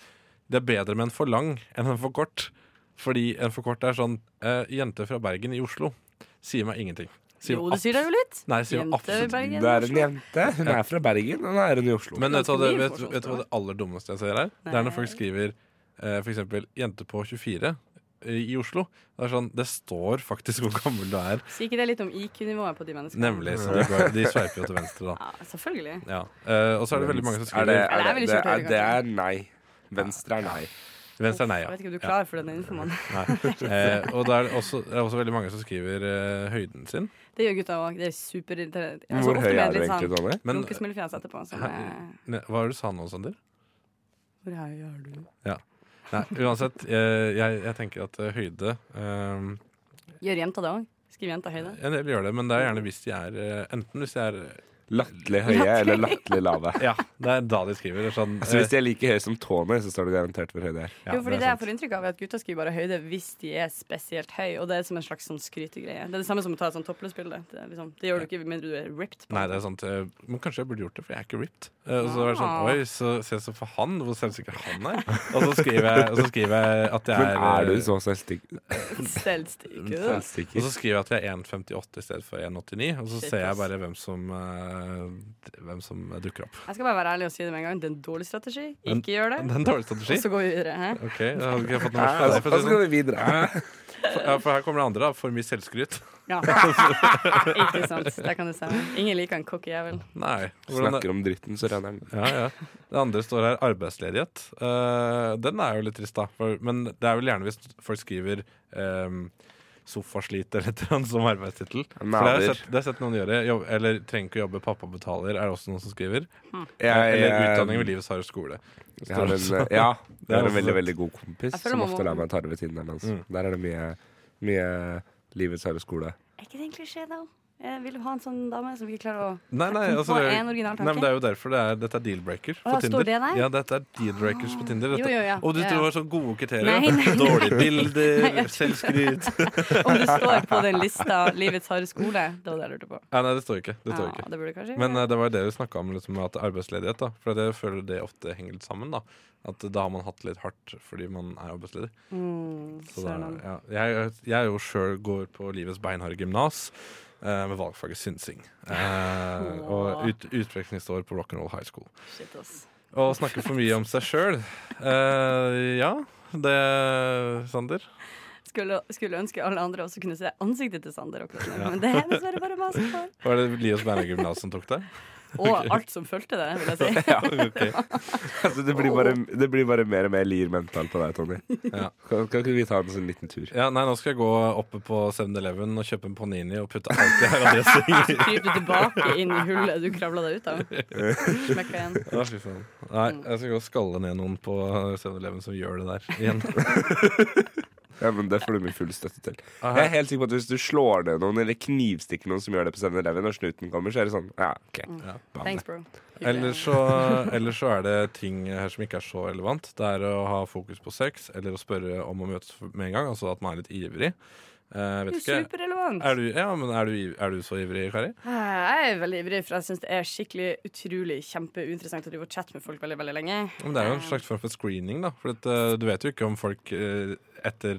S5: det er bedre med en for lang enn en for kort. Fordi en for kort er sånn eh, Jente fra Bergen i Oslo sier meg ingenting. Sier
S1: Jo,
S5: meg
S1: det sier deg jo litt.
S5: abs- Nei, sier meg
S1: Jente i
S5: absolutt
S1: Bergen.
S6: Det er en jente. Hun er fra Bergen, og nå er hun i Oslo.
S5: Men vet du hva det,
S1: Ganske mye sånn
S5: vet, vet du hva det aller dummeste jeg ser her? Det
S1: Nei.
S5: er når folk skriver eh, for eksempel 'jente på 24' i Oslo. Det er sånn, det står faktisk hvor gammel du er.
S1: Sier ikke det litt om IQ-nivået på de menneskene?
S5: Nemlig. Så de, går, de sveiper jo til venstre, da.
S1: Ja, selvfølgelig.
S5: Ja. Eh, og så er det veldig mange som
S6: Er det,
S5: skriver
S6: er
S1: Nei, jeg
S6: det,
S1: ville
S6: det,
S1: kjørt
S6: er,
S1: høyre,
S6: det er nei. Venstre er nei.
S5: Venstre er nei,
S1: Jeg
S5: ja.
S1: vet ikke om du er klar for den informanten.
S5: Nei. Eh, og det er, det også, det er også veldig mange som skriver eh, høyden sin.
S1: Det gjør gutta òg. Det er superirriterende. Altså,
S6: Hvor høy
S1: ofte med
S6: er du
S1: litt
S6: egentlig,
S1: sånn
S6: Donny?
S5: Men eh,
S1: Runkesmilefjes etterpå. Som
S5: Hæ?
S1: er,
S5: ne, hva var det du sa nå, Sander?
S1: hvor høy er du?
S5: Nei, uansett. eh, jeg, jeg tenker at eh, høyde eh,
S1: Gjør jenta det òg? Skriver jenta høyde?
S5: En del gjør det, men det er gjerne hvis de er eh, Enten hvis de er
S6: Latterlig høye eller latterlig lave?
S5: Ja, det er da de skriver. det er Sånn,
S6: Altså Hvis de er like høye som tåene, så står det garantert hvor høy de er.
S5: eh, ja,
S1: jo, fordi det, jeg
S5: sant.
S1: får inntrykk av, er at gutta skriver bare høyde hvis de er spesielt høy, og det er som en slags sånn skrytegreie. Det er det samme som å ta et sånn toppløsbilde. Det, er liksom, det gjør du ikke med mindre du er ripped. på.
S5: Nei, det er sant. eh, Men kanskje jeg burde gjort det, for jeg er ikke ripped. Eh, Og så var det
S1: Ah.
S5: sånn, oi, så, se så for han, hvor selvsikker han er. Og så skriver jeg, og så skriver jeg at jeg
S6: Men
S5: er
S6: er du
S5: eh,
S6: så selvstik-
S5: Og
S1: Selvstikke.
S5: så
S6: selvsikker?
S5: skriver jeg at jeg er 1,58 i stedet for 1,89, og så
S1: Shit,
S5: ser jeg
S1: ass.
S5: bare hvem som, eh, hvem som dukker opp.
S1: Jeg skal bare være ærlig og si det med en gang. Det er en dårlig strategi.
S5: Men-
S1: Ikke gjør det.
S5: Det er en dårlig strategi.
S1: Og så går vi videre. Hæ?
S5: Ok, da hadde ikke jeg fått noe
S6: Ja,
S5: mer
S6: altså,
S5: for deg. For,
S6: så
S5: å si det
S6: skal vi videre.
S5: sånn. ja, for her kommer det andre, da. For mye selvskryt.
S1: Ja. ikke sant. Der kan du se. Ingen liker en cocky jævel.
S5: Nei. Hvordan
S6: Snakker om dritten, så renner den.
S5: ja, ja. Det andre står her arbeidsledighet. Eh, den er jo litt trist, da. For, men det er vel gjerne hvis folk skriver um, sofasliter eller et eller annet som arbeidstittel. For Det har jeg
S6: Maler.
S5: sett, det har jeg sett noen gjøre. Jobb, eller trenger ikke å jobbe, pappa betaler, er det også noen som skriver.
S6: Jeg,
S5: Eller utdanning
S6: jeg,
S5: ved livets harde skole.
S6: jeg har en, ja,
S5: Det
S6: det
S5: er
S6: er en
S5: også
S6: veldig,
S5: sant.
S6: veldig god kompis
S1: Jeg føler
S6: som
S1: man må-
S6: ofte lar meg ta det ved tiden hans.
S5: Mm.
S6: Der er det mye, mye livets harde skole.
S1: Er ikke det en klisjé, da? Jeg vil du ha en sånn dame som ikke klarer å
S5: Nei, nei,
S1: Jeg kom
S5: altså,
S1: på
S5: det, er-
S1: en original tanke.
S5: nei men det er jo derfor det er, dette er deal-breaker på
S1: Å, står
S5: Tinder.
S1: det der? Ah.
S5: Ja, dette er deal-breakers på Tinder. Dette.
S1: Jo, jo, ja.
S5: Og du
S1: Ja,
S5: tror det
S1: ja.
S5: var så gode kriterier.
S1: Nei, nei, nei.
S5: Dårlige bilder,
S1: Nei, jeg tror-
S5: selvskryt
S1: Om det står på den lista 'Livets harde skole', det var det jeg lurte på.
S5: Nei, nei, det står ikke. Det står
S1: Ja,
S5: ikke.
S1: det burde kanskje
S5: Men eh, det var jo det vi snakka om, liksom, at arbeidsledighet. da For jeg føler det ofte henger litt sammen. da At da har man hatt litt hardt fordi man er arbeidsledig.
S1: mm,
S5: Så da,
S1: søren om.
S5: ja. jeg, jeg er jo sjøl går på livets beinharde gymnas. eh, med valgfaget synsing. Eh, og ut, utvekslingsår på Rock'n'Roll High School.
S1: Shit, ass.
S5: Og snakker for mye om seg sjøl. Eh, ja. det, Sander?
S1: Skulle, skulle ønske alle andre også kunne se ansiktet til Sander, og hvordan- men det er dessverre bare masse for.
S5: Var det Lias Bernergymnas som tok det?
S1: Og alt som fulgte det, vil jeg si.
S6: Ja,
S5: Ok.
S6: altså, det, blir bare, det blir bare mer og mer lir-mental på deg, Tommy.
S5: Ja.
S6: Kan, kan ikke vi ta en sånn liten tur?
S5: Ja, nei, nå skal jeg gå oppe på 7-Eleven og kjøpe en Panini og putte alt det her av det som
S1: Krype tilbake inn i hullet du kravla deg ut av. Smekka igjen.
S5: Ja, fy faen. Nei,
S1: Mm.
S5: jeg skal gå og skalle ned noen på 7-Eleven som gjør det der igjen.
S6: Ja, men Det får du min fulle støtte til.
S5: Aha.
S6: Jeg er helt sikker på at Hvis du slår ned noen eller knivstikker noen som gjør det på 7-Eleven, og snuten kommer, så er det sånn Ja, OK.
S1: Thanks, bro.
S5: Ellers så, ellers så er det ting her som ikke er så relevant. Det er å ha fokus på sex, eller å spørre om å møtes med en gang. Altså at man er litt ivrig. Eh,
S1: Du
S5: vet
S1: er
S5: ikke.
S1: superrelevant. Ah,
S5: Er du, ja, men er du, iv- er du så ivrig, Kari?
S1: Jeg er veldig ivrig, for jeg syns det er skikkelig utrolig kjempeinteressant å drive og chatte med folk veldig veldig lenge.
S5: Ja, Men det er jo en
S1: Eh.
S5: slags form for screening, da. For at, eh, du vet jo ikke om folk eh, etter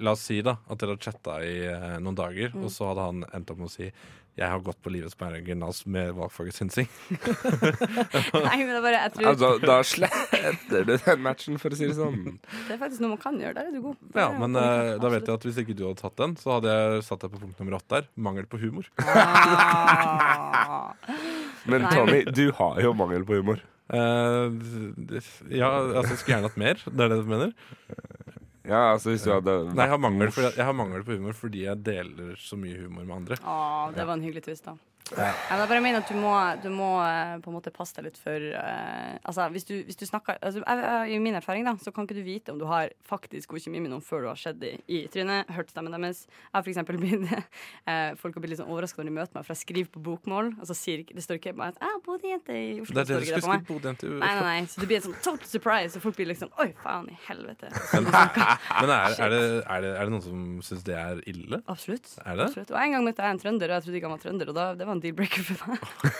S5: La oss si da, at dere har chatta i eh, noen dager,
S1: Mm.
S5: og så hadde han endt opp med å si jeg har gått på livets bære gymnas med valgfaget synsing.
S1: Nei, men det er bare, jeg tror
S6: Altså, da sletter du den matchen, for å si det sånn.
S1: Det er faktisk noe man kan gjøre. Der er du god.
S5: Ja, men eh, da vet jeg at hvis ikke du hadde tatt den, så hadde jeg satt deg på punkt nummer åtte der. Mangel på humor. Eh,
S1: Ah.
S6: Men
S1: Nei.
S6: Tommy, du har jo mangel på humor.
S5: Eh, d- ja, altså jeg skulle gjerne hatt mer. Det er det du mener?
S6: Ja, altså hvis du hadde
S5: Nei, jeg har, mangel, for, jeg har mangel på humor fordi jeg deler så mye humor med andre.
S1: Ah, det var en hyggelig twist, da. Ja, men jeg bare mener at du må, du må eh, på en måte passe deg litt for eh, Altså, hvis du, hvis du snakker altså, jeg, jeg, I min erfaring, da, så kan ikke du vite om du har faktisk god kjemi med noen før du har sett dem i trynet, hørt stemmen deres. Jeg har for eksempel blitt eh, Folk har blitt litt sånn overraska når de møter meg, for jeg skriver på bokmål, og så sier ikke Det står ikke bare at 'Jeg bodde i jente i Oslo'.
S5: Det er det
S1: står
S5: du
S1: ikke
S5: skulle
S1: det på meg.
S5: skrive Bodø-intervju.
S1: Nei, nei, nei. Så det blir et sånn total surprise, og folk blir liksom Oi, faen i helvete.
S5: Men, men er, er, det, er, det, er det noen som syns det er ille?
S1: Absolutt.
S5: Er det?
S1: Absolutt. Og en gang møtte jeg en trønder, og jeg trodde ikke han var trønder, og da, det var en deal-breaker for meg.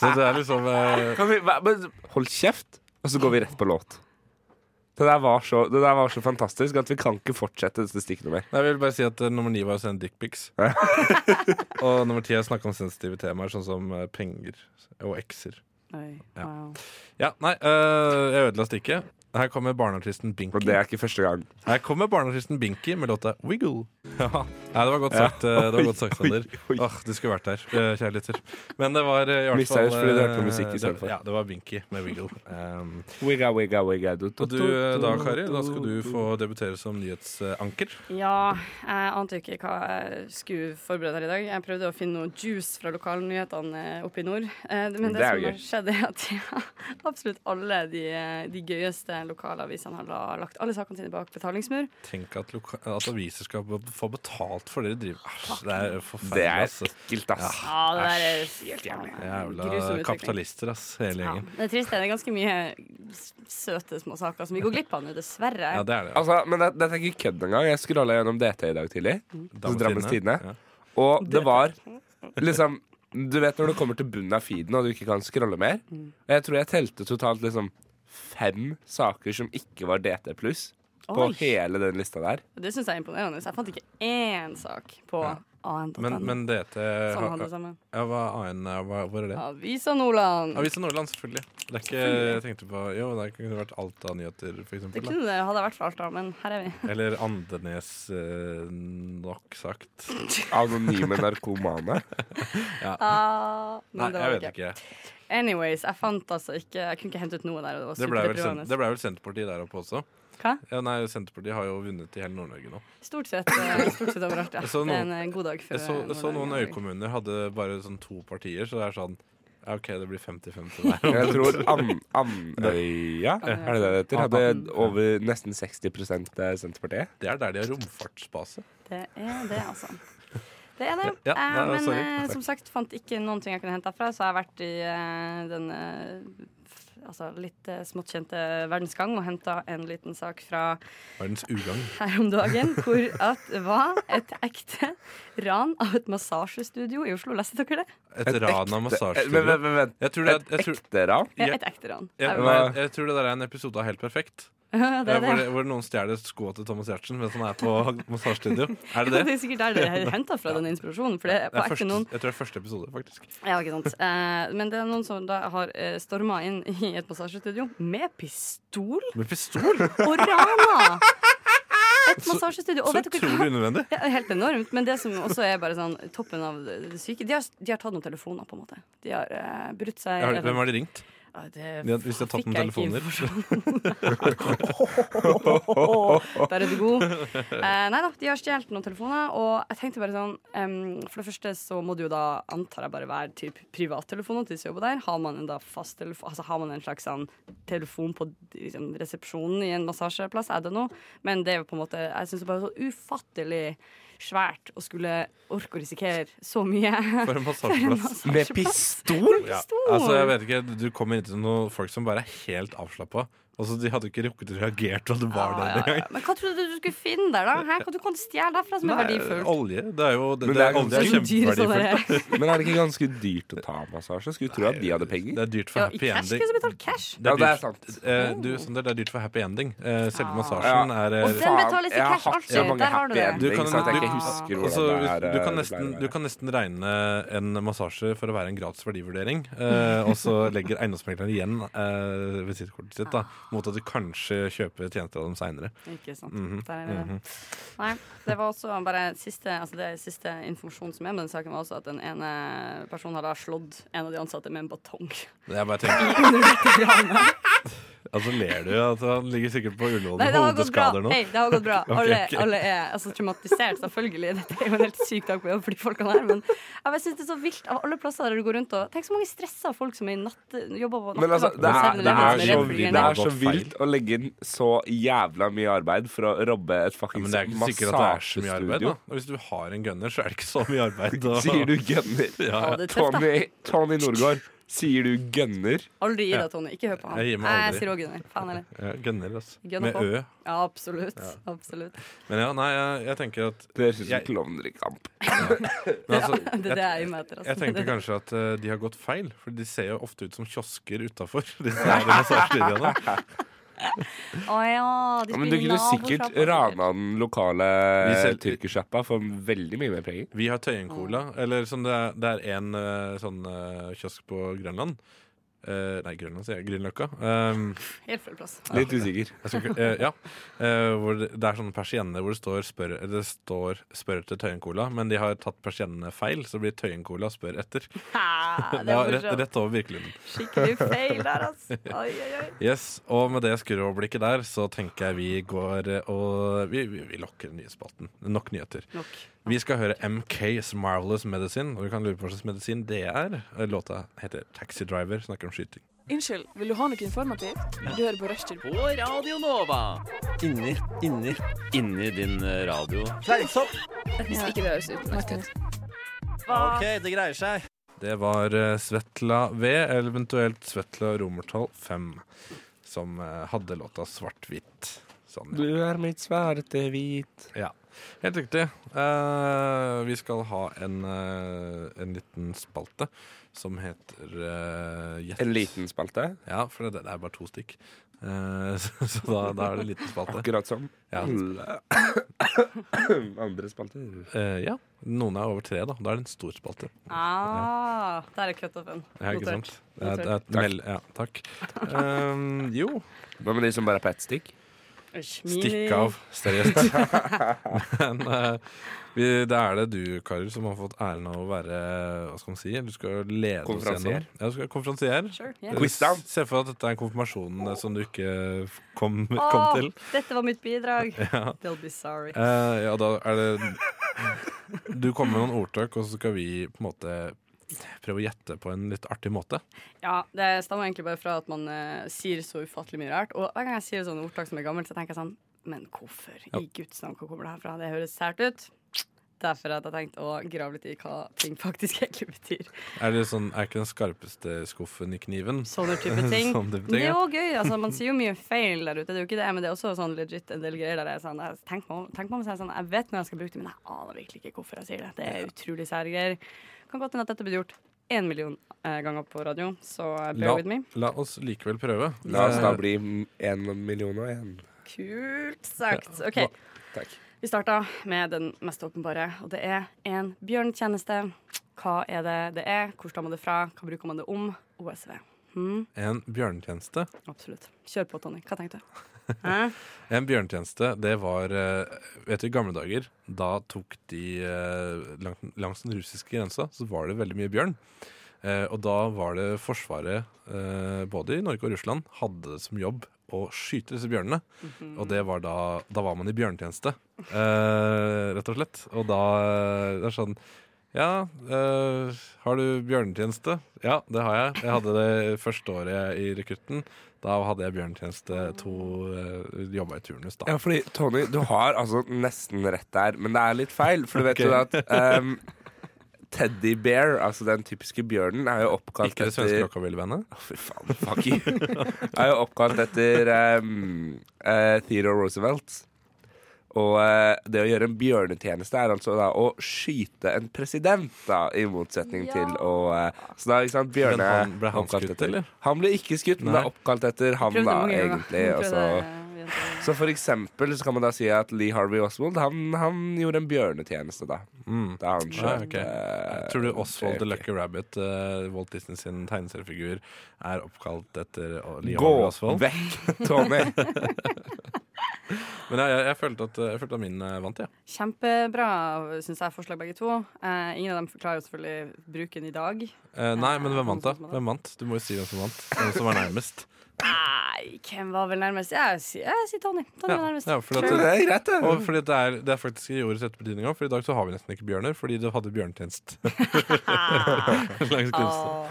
S5: Så det er liksom eh,
S6: Kan vi, hva, men, Hold kjeft, og så går vi rett på låt. Det der, var så, det der var så fantastisk at vi kan ikke fortsette dette stikket noe mer.
S5: Nei, Jeg vil bare si at eh, nummer ni var å sende dickpics. og nummer ti er å snakke om sensitive temaer, sånn som eh, penger og ekser.
S1: Oi,
S5: Ja.
S1: wow.
S5: Ja, nei, eh, jeg ødela stikket. Her kommer barneartisten Binky.
S6: Og det er ikke første gang.
S5: Her kommer barneartisten Binky med låta 'Wiggle'. Ja, Nei, det var godt sagt, eh, det var godt sagt
S6: Oi,
S5: Sander.
S6: oi.
S5: Åh, Du skulle vært der, eh, kjære lytter. Men det var eh, i hvert
S6: Mista
S5: fall
S6: jeg fordi du hørte på
S5: eh,
S6: musikk i
S5: det-
S6: stedet for.
S5: Ja, det var Binky med 'Wiggle'. Um,
S6: Wigga, wigga, wigga, du,
S5: og du eh, da, Kari, da skal du få debutere som nyhetsanker.
S1: Ja, jeg ante jo ikke hva jeg skulle forberede her i dag. Jeg prøvde å finne noe juice fra lokalnyhetene oppe i nord. Eh, Men det,
S6: Det er
S1: som
S6: jo
S1: har skjedd, er at ja, absolutt alle de, eh, de gøyeste lokalavisene har la- lagt alle sakene sine bak betalingsmur.
S5: Tenk at, loka at aviser skal be- få betalt for det de driver Æsj, Det er
S6: Det
S5: forferdelig.
S6: er
S5: ass.
S6: ekkelt, ass.
S1: Ja, det der er helt jævlig.
S5: Jævla kapitalister, ass, hele
S1: Ja,
S5: gjengen.
S1: det er trist. Det er ganske mye s- søte små saker som vi går glipp av nå, dessverre.
S5: Ja, det er det.
S6: Altså, men det- dette er ikke kødd engang. Jeg scrolla gjennom DT i dag tidlig. Altså Drammens Tidende.
S5: Ja.
S6: Og det var liksom Du vet når du kommer til bunnen av feeden og du ikke kan scrolle mer? Og jeg tror jeg telte totalt liksom fem saker som ikke var DT pluss, på
S1: Oi.
S6: hele den lista der.
S1: Det syns jeg er imponerende. Så jeg fant ikke én sak på annet
S5: Men, men eh, DT
S1: som
S5: har-
S1: Sånn handler sammen.
S5: Ja, hva AN er, hva, hvor er det?
S1: Avisa Nordland.
S5: Avisa Nordland, selvfølgelig. Det er ikke, jeg tenkte på, jo, det kunne vært Alta Nyheter, for
S1: Det
S5: eksempel.
S1: kunne det hadde vært for Alta, men her er vi.
S5: Da. Eller Andenes, eh, nok sagt.
S6: Anonyme narkomane.
S1: Ah,
S5: Nei,
S1: men det
S5: jeg
S1: var
S5: vet
S1: det ikke.
S5: ikke.
S1: Anyways, jeg fant altså ikke Jeg kunne ikke hente ut noe der. Og det var
S5: Det ble, vel, sen-
S1: superdeprimerende.
S5: det ble vel Senterpartiet der oppe også.
S1: Hva?
S5: Ja, nei, Senterpartiet har jo vunnet i hele Nord-Norge nå.
S1: Stort sett, eh, stort sett overalt, ja.
S5: Jeg så
S1: det er
S5: noen-
S1: en eh, god dag for
S5: Jeg så,
S1: eh,
S5: så noen
S1: Nordland.
S5: øykommuner hadde bare sånn to partier, så det er sånn ja, OK, det blir 50-50 der.
S6: Jeg tror An- Andøya, er det det det heter? Hadde over nesten 60 Senterpartiet.
S5: Det er der de har romfartsbase.
S1: Det er det, altså. Det er det.
S5: Ja,
S1: Eh,
S5: ja,
S1: men
S5: sorry.
S1: eh, som sagt fant ikke noen ting jeg kunne hente herfra, så jeg har vært i eh, den eh, f- altså litt eh, smått kjente Verdensgang og henta en liten sak fra
S5: Verdens ugagn.
S1: her om dagen, hvor at var et ekte ran av et massasjestudio i Oslo. Leste dere det?
S5: Et ran av
S6: Men vent,
S5: massasjestudio.
S6: vent, vent.
S5: Jeg tror det er-
S6: Et
S5: jeg tror-
S6: ekte ran?
S1: Ja,
S5: Ja.
S1: Et ekte ran.
S5: Jeg,
S1: Jeg-
S5: nei, jeg tror det der er en episode av Helt perfekt. Eh,
S1: det er
S5: Hvor,
S1: det.
S5: det, hvor noen stjeler skoa til Thomas Giertsen mens han er på massasjestudio. Er
S1: Det
S5: det det?
S1: er sikkert der dere har henta fra den inspirasjonen. For det er
S5: Det
S1: på
S5: er
S1: ekte
S5: første,
S1: noen
S5: jeg tror det er første episode, faktisk.
S1: Ja, ikke sant. Eh, men det er noen som da har eh, storma inn i et massasjestudio med pistol
S5: Med pistol!
S1: og rana! Et massasjestudio. Og
S5: Så
S1: vet dere hva?
S5: utrolig unødvendig.
S1: Det er helt enormt. Men det som også er bare sånn toppen av det det syke De har, de har tatt noen telefoner, på en måte. De har eh, brutt seg
S5: Jeg har- Hvem har de ringt?
S1: Ja, det
S5: De har, hvis de har tatt
S1: fikk
S5: noen
S1: jeg ikke
S5: telefoner?
S1: Der er du god. Eh, nei da, de har stjålet noen telefoner. Og jeg tenkte bare sånn em, For det første så må det jo da, antar jeg, bare være typ privattelefoner til disse jobber der. Har man en da fast telefon Altså har man en slags sånn telefon på liksom, resepsjonen i en massasjeplass? Er det noe? Men det er jo på en måte Jeg syns det bare er så ufattelig svært å skulle orke å risikere så mye.
S5: For en massasjeplass.
S6: Med pistol?
S5: Ja.
S1: Pistol!
S5: Altså, jeg vet ikke, Du kommer inn til noen folk som bare er helt avslappa. Altså, de hadde ikke rukket å reagere til at det var
S1: Ja,
S5: der
S1: ja,
S5: engang.
S1: ja. Men hva trodde du du skulle finne der, da? Hæ? Hva du kan stjele derfra som er verdifullt?
S5: Olje. Det er jo det,
S6: Men
S5: det er,
S6: det er
S5: olje er
S1: Så dyr sånn
S5: kjempeverdifullt.
S1: der-
S6: Men er det ikke ganske dyrt å ta massasje? Skulle tro at de hadde penger.
S5: Det er dyrt for
S1: Ja, I
S5: happy
S1: cash liksom, skulle
S5: ending.
S1: jeg betalt cash.
S5: Det
S6: Ja,
S5: er
S6: det er
S5: dyrt,
S6: sant.
S5: eh, du, Sander, det er dyrt for happy ending. Eh, selve
S1: Ah.
S5: massasjen er eh,
S1: Og den betales i
S6: jeg har
S1: cash
S6: hatt
S1: alltid.
S6: så mange
S1: Der har du det.
S6: happy
S5: Du kan-
S6: endings at jeg ikke
S1: du-
S6: husker hvordan
S5: Altså, hvis,
S6: det er.
S5: du,
S6: eh,
S5: kan
S6: det pleier å
S5: nesten,
S6: være.
S5: du kan nesten regne en massasje for å være en gratis verdivurdering, eh, og så legger eiendomsmegleren igjen eh, visittkortet sitt da, mot at du kanskje kjøper tjenester av dem seinere.
S1: Ikke sant.
S5: Mhm.
S1: Der er vi der. Nei, det var også bare siste, altså det siste informasjonen som er med den saken, var også at den ene personen hadde slått en av de ansatte med en batong.
S5: Jeg bare tenker Altså ler du at han ligger sikkert på Ullevål
S1: Nei,
S5: med
S1: det har gått bra.
S5: hodeskader nå?
S1: Hei, det har gått bra. Alle,
S5: ok.
S1: alle er altså, traumatisert, selvfølgelig. Dette er jo en helt syk dag på jobb for de folkene her, men jeg bare synes det er så vilt av alle plasser der du går rundt og Tenk så mange stressa folk som er i natt, jobber på
S6: Men altså,
S1: nattevakt på
S6: det er,
S1: 7-Eleven
S6: det,
S1: som
S6: er
S1: redd
S6: så,
S1: for
S5: har gått
S6: vilt- det er så
S1: å grine.
S5: feil.
S6: vilt å legge inn så jævla mye arbeid for å robbe
S5: Ja,
S6: et fuckings
S5: men det er ikke sikkert at det er så mye arbeid. Da.
S6: massasjestudio.
S5: Og hvis du har en gunner, så er det ikke så mye arbeid. å-
S6: Sier du gønner?
S5: Ja,
S1: Ja, det er tøft, da.
S6: Tony, Tony Norgård, sier du gønner?
S1: Aldri gi
S5: Ja.
S1: deg, Tony. Ikke hør på han.
S5: Jeg gir meg
S1: Nei,
S5: aldri.
S1: sier også Gunnar. Faen heller.
S5: ja, gunner, altså.
S1: Gunner
S5: Med
S1: på.
S5: ø.
S1: Ja, absolutt. Absolutt.
S5: Men ja, nei, jeg, jeg tenker at
S6: Det synes
S5: Jeg-
S6: jeg klovner i kamp.
S5: men altså,
S1: Det, det er jeg med etter.
S5: Jeg tenkte kanskje at eh, de har gått feil, for de ser jo ofte ut som kiosker utafor. Vi
S1: Å ja,
S6: Ja,
S1: de
S6: men du kunne sikkert rana den lokale
S5: Vi selv-
S6: tyrkersjappa for veldig mye mer penger.
S5: har Tøyen-cola, eller som det er, det er en eh, sånn eh, kiosk på Grønland. Eh, nei, Grønland, sier jeg. Grünerløkka. Um,
S1: Helt full plass.
S6: Litt usikker.
S5: jeg skal ikke- eh, ja. Eh, hvor det, det er sånne persienner hvor det står spør, eller det står spør etter Tøyen-cola, men de har tatt persiennene feil, så det blir Tøyen-cola spør etter.
S1: Ha, det
S5: Ja,
S1: er
S5: rett,
S1: morsomt.
S5: rett over virkeligheten.
S1: Skikkelig feil der, altså. Oi, oi, oi.
S5: Yes, og med det skurreoverblikket der, så tenker jeg vi går eh, og Vi, vi, vi lokker nyhetsspalten. Nok nyheter.
S1: Nok.
S5: Vi skal høre MKs Marvelous Medicine, og du kan lure på hva slags medisin det er. Eh, Låta heter Taxi Driver, snakker om skyting.
S8: Unnskyld, vil du ha noe informativt? Du hører på Rushtid.
S9: På Radio Nova. Inni, inni Inni din eh, radio.
S8: Hvis ikke det høres ut.
S9: OK, det greier seg.
S5: Det var eh, Svetla V, eller eventuelt Svetla romertall 5, som eh, hadde låta Svart-hvitt. Sånn, ja.
S6: er mitt svarte hvit.
S5: Helt riktig. Eh, vi skal ha en, eh, en liten spalte som heter uh, Gjett.
S6: En liten spalte.
S5: Ja, for det, det er bare to stykk. Eh, så så da, da er det liten spalte.
S6: Akkurat som
S5: Ja.
S6: alle andre spalter.
S5: Eh, ja. Noen er over tre, da. Da er det en stor spalte.
S1: Ah, der er cutoffen.
S5: Ja, ikke sant? Det er, det er, et
S6: Takk.
S5: mel- ja, takk. Eh, jo.
S6: Hva med de som bare er på ett stikk?
S5: Stikk av. Seriøst. Men eh, vi, det er det du, karer, som har fått æren av å være Hva skal man si? Du skal lede oss
S6: Konferansier.
S5: gjennom. Ja, du skal konferansier.
S1: Sure,
S5: Eh,
S1: yeah.
S6: Quizdown.
S5: s- Se for deg at dette er konfirmasjonen eh, som du ikke kom, kom
S1: Åh,
S5: til.
S1: dette var mitt bidrag.
S5: Ja.
S1: They'll be sorry.
S5: Eh, ja, da er det Du kommer med noen ordtak, og så skal vi på en måte prøve å gjette på en litt artig måte.
S1: Ja, det stammer egentlig bare fra at man eh, sier så ufattelig mye rart. Og hver gang jeg sier sånne ordtak som er gammelt, så tenker jeg sånn Men hvorfor? I Guds navn, hvor kommer det her fra? Det høres sært ut. Derfor at jeg tenkt å grave litt i hva ting faktisk egentlig betyr.
S5: Er det sånn, er ikke den skarpeste skuffen i kniven?
S1: Sånne type ting.
S5: Sånne type ting,
S1: Men det er
S5: ja.
S1: jo gøy. Altså, man sier jo mye feil der ute, det er jo ikke det, men det er også sånn legit en del greier der jeg er sånn jeg tenker på, tenk på meg selv sånn Jeg vet når jeg skal bruke det, men jeg aner virkelig ikke hvorfor jeg sier det. Det er utrolig sære greier. Kan godt hende at dette blir gjort én million eh, ganger på radio, så eh, bear
S5: La,
S1: with me.
S5: la oss likevel prøve.
S6: La oss da
S5: Eh,
S6: bli én million og én.
S1: Kult sagt. OK.
S5: hva-
S6: takk.
S1: Vi starta med den mest åpenbare, og det er en bjørntjeneste. Hva er det det er? Hvor stammer det fra? Hva bruker man det om? OSV. Hmm,
S5: En bjørnetjeneste.
S1: absolutt. Kjør på, Tonje. Hva tenkte du? Hæ?
S5: En bjørnetjeneste, det var eh, Vet du, i gamle dager, da tok de eh, lang, Langs den russiske grensa så var det veldig mye bjørn. Eh, Og da var det Forsvaret, eh, både i Norge og Russland, hadde som jobb å skyte disse bjørnene. Og det var da Da var man i bjørnetjeneste, eh, rett og slett. Og da Det er sånn ja, eh, har du bjørnetjeneste? Ja, det har jeg. Jeg hadde det første året i rekrutten. Da hadde jeg bjørnetjeneste to uh, jobba i turnus, da.
S6: Ja, fordi Tony, du har altså nesten rett der, men det er litt feil. For du vet jo at ehm, Teddy Bear, altså den typiske bjørnen, er jo oppkalt
S5: Ikke det
S6: etter
S5: svenske rockabillybandet?
S6: Å, Fy faen, fuck you. er jo oppkalt etter ehm, eh, Theodore Roosevelt. Og eh, det å gjøre en bjørnetjeneste er altså da å skyte en president, da, i motsetning
S8: Ja.
S6: til å eh, Så da, ikke sant, bjørne
S5: Men han- ble han
S6: oppkalt
S5: skutt,
S6: etter-
S5: eller?
S6: Han ble ikke skutt, men
S5: Nei.
S6: det er oppkalt etter han,
S1: Prøvde
S6: da,
S1: mange ganger.
S6: egentlig. altså.
S1: Prøvde- eh,
S6: Og så så for eksempel så kan man da si at Lee Harvey Oswald han, han gjorde en bjørnetjeneste, da.
S5: Mm.
S6: Da han skjøt
S5: ok.
S6: eh,
S5: Tror du Oswald the
S6: JFK.
S5: Lucky Rabbit, eh, Walt Disney sin tegneseriefigur, er oppkalt etter Lee
S6: Gå
S5: Harvey Oswald?
S6: vekk, Tony!
S5: Men jeg, jeg, jeg, følte at, jeg følte at min eh, vant, jeg. Ja.
S1: Kjempebra, syns jeg, forslag begge to. Eh, ingen av dem forklarer jo selvfølgelig bruken i dag.
S5: Eh, nei, men hvem
S1: han
S5: vant, da?
S1: som vant.
S5: Hvem vant? Du må jo si hvem som vant. Hvem som var nærmest.
S1: Nei, hvem var vel nærmest? Jeg sier, jeg sier Tony. Tony
S5: Ja,
S1: var nærmest.
S5: ja, for at,
S6: Så det er greit, det.
S5: Og fordi det er, det er faktisk i ordets rette betydning òg, for i dag så har vi nesten ikke bjørner, fordi du hadde bjørnetjeneste. Langs grensen.
S1: Åh.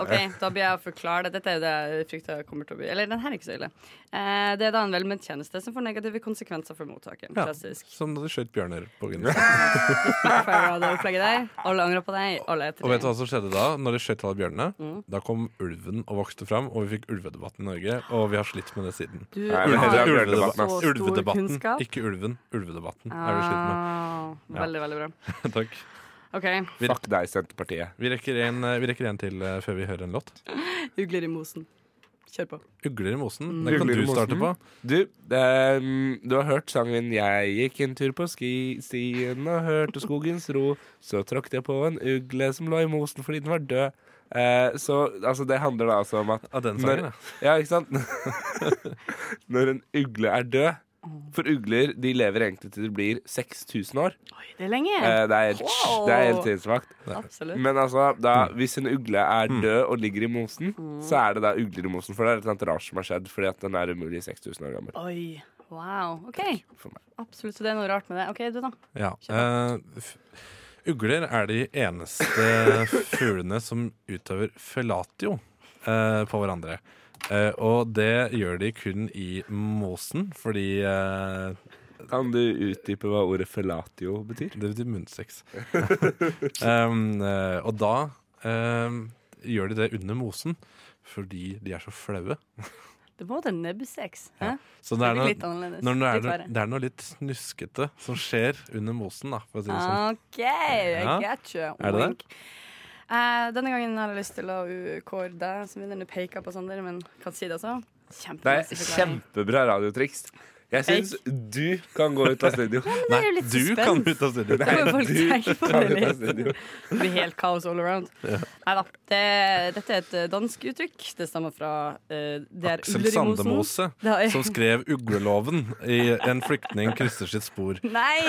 S1: OK, da blir jeg å forklare det. Dette er jo det jeg frykter kommer til å bli. Eller den her er ikke så ille. Eh, det er da en velment tjeneste som får negative konsekvenser for mottakeren.
S5: Ja.
S1: Klassisk.
S5: Som da du skjøt bjørner på grensen.
S1: Backfire av det opplegget der. Alle angrer på deg. Alle er etter
S5: Og vet du
S1: deg.
S5: hva som skjedde da? Når de skjøt alle bjørnene, da kom ulven og vokste fram, og vi fikk ulvedebatten i Norge, og vi har slitt med det siden.
S1: Du
S6: Nei, men heller
S1: har
S6: ha bjørnedebatt.
S1: så stor
S5: Ulvedebatten,
S1: kunnskap.
S5: ikke ulven. Ulvedebatten er vi slitt med.
S1: Ah, veldig, veldig bra.
S5: Takk.
S1: OK.
S6: Fuck deg, Senterpartiet.
S5: Vi rekker en, eh, vi rekker en til eh, før vi hører en låt.
S1: Ugler i mosen. Kjør på.
S5: Ugler i mosen. Den kan
S6: Mm. Ugler i
S5: du starte på.
S6: mosen. Du, ehm, du har hørt sangen 'Jeg gikk en tur på ski, stien og hørte skogens ro'. Så tråkket jeg på en ugle som lå i mosen fordi den var død. Eh, så altså, det handler da altså om at
S5: Ja, den
S6: Når-
S5: sangen, ja.
S6: Ja, ikke sant? Når en ugle er død For ugler de lever egentlig til de blir 6000 år.
S1: Oi, det er lenge.
S6: Eh, det er helt,
S1: Wow.
S6: det er helt sinnsvakt.
S1: Absolutt.
S6: Men altså, da, hvis en ugle er død og ligger i mosen, så er det da ugler i mosen. For det er et eller annet rart som har skjedd, fordi at den er umulig 6000 år gammel.
S1: Oi. Wow. OK.
S6: For meg.
S1: Absolutt. Så det er noe rart med det. OK, du, da.
S5: Ja.
S1: Kjør.
S5: eh, f- ugler er de eneste fuglene som utøver fellatio eh, på hverandre. Eh, og det gjør de kun i mosen, fordi eh,
S6: Kan du utdype hva ordet fellatio betyr?
S5: det betyr munnsex. um, eh, og da um, gjør de det under mosen, fordi de er så flaue.
S1: Det må være nebbsex. hæ?
S5: Så det
S1: Det
S5: er
S1: blir
S5: noe,
S1: litt annerledes.
S5: når det, er
S1: Litt
S5: noe,
S1: verre.
S5: det er noe litt snuskete som skjer under mosen, da, for å si det sånn.
S1: OK, I
S5: Ja.
S1: get you.
S5: Er det det?
S1: Wink. Eh, denne gangen har jeg lyst til å uh, kåre deg som vinner. Nå peker jeg på Sander, men kan si det også.
S6: Det
S1: Kjempemessig
S6: er
S1: forklaring.
S6: kjempebra radiotriks. Jeg syns du kan gå ut av studio.
S1: det er jo litt
S5: du
S1: suspens.
S5: kan ut av studio.
S1: må jo folk
S6: du
S1: tenke på
S6: kan
S1: det
S6: ut av
S1: litt.
S6: studio.
S1: Det blir helt kaos all around. Nei da. Det, dette er et eh, dansk uttrykk. Det stammer fra eh, Det er
S5: Aksel
S1: uller i
S5: Sandemose,
S1: mosen. Det er-
S5: som skrev Ugleloven i En flyktning krysser sitt spor.
S1: Nei!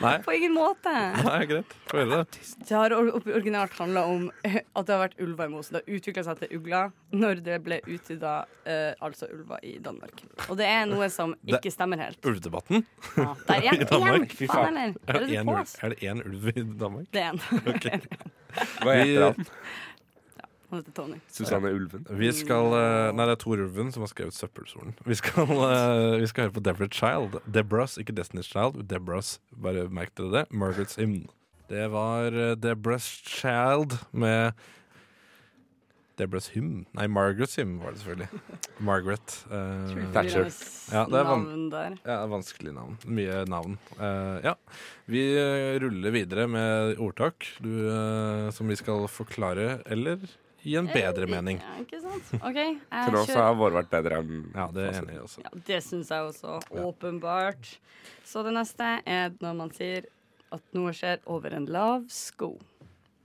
S5: Nei,
S1: På ingen måte.
S5: nei greit. Få høre det.
S1: Det har or- originalt handla om eh, at det har vært ulver i mosen. Det har utvikla seg til ugler når det ble utvida eh, altså ulver i Danmark. Og det er noe som
S5: Det-
S1: ikke stemmer helt.
S5: Ulvedebatten?
S1: Ja, der
S5: I
S1: igjen!
S5: Danmark?
S1: igjen.
S5: Fy
S1: Faen,
S5: faen.
S1: eller?
S5: Er det
S1: Hører du
S5: én
S1: på
S5: ulv,
S1: oss?
S5: er det en ulv i Danmark?
S1: Det er en.
S6: Hva heter han?
S1: Han heter Tony.
S6: Susanne Ulven.
S5: Vi skal eh, Nei, det er Tor Ulven som har skrevet 'Søppelsolen'. Vi skal, eh, vi skal høre på Deborah Child. Deborahs, ikke Destiny's Child. Deborahs, bare merk dere det. Margaret's Hymn. Det var eh, Deborah's Child med Debras hymn. Nei, Margarets hymn var det selvfølgelig. Margaret. eh,
S6: Thatcher.
S5: Ja, det er van-
S1: navn der.
S5: ja, vanskelig navn. Mye navn. Eh, ja. Vi eh, ruller videre med ordtak du, eh, som vi skal forklare, eller gi en bedre mening.
S1: Eh, Ja, ikke sant? OK, jeg
S6: Til nå så
S1: kjører.
S6: har vår vært bedre enn
S5: Ja, det er jeg enig i også.
S1: Ja, det syns jeg også. Åpenbart. Så det neste er når man sier at noe skjer over en lav sko.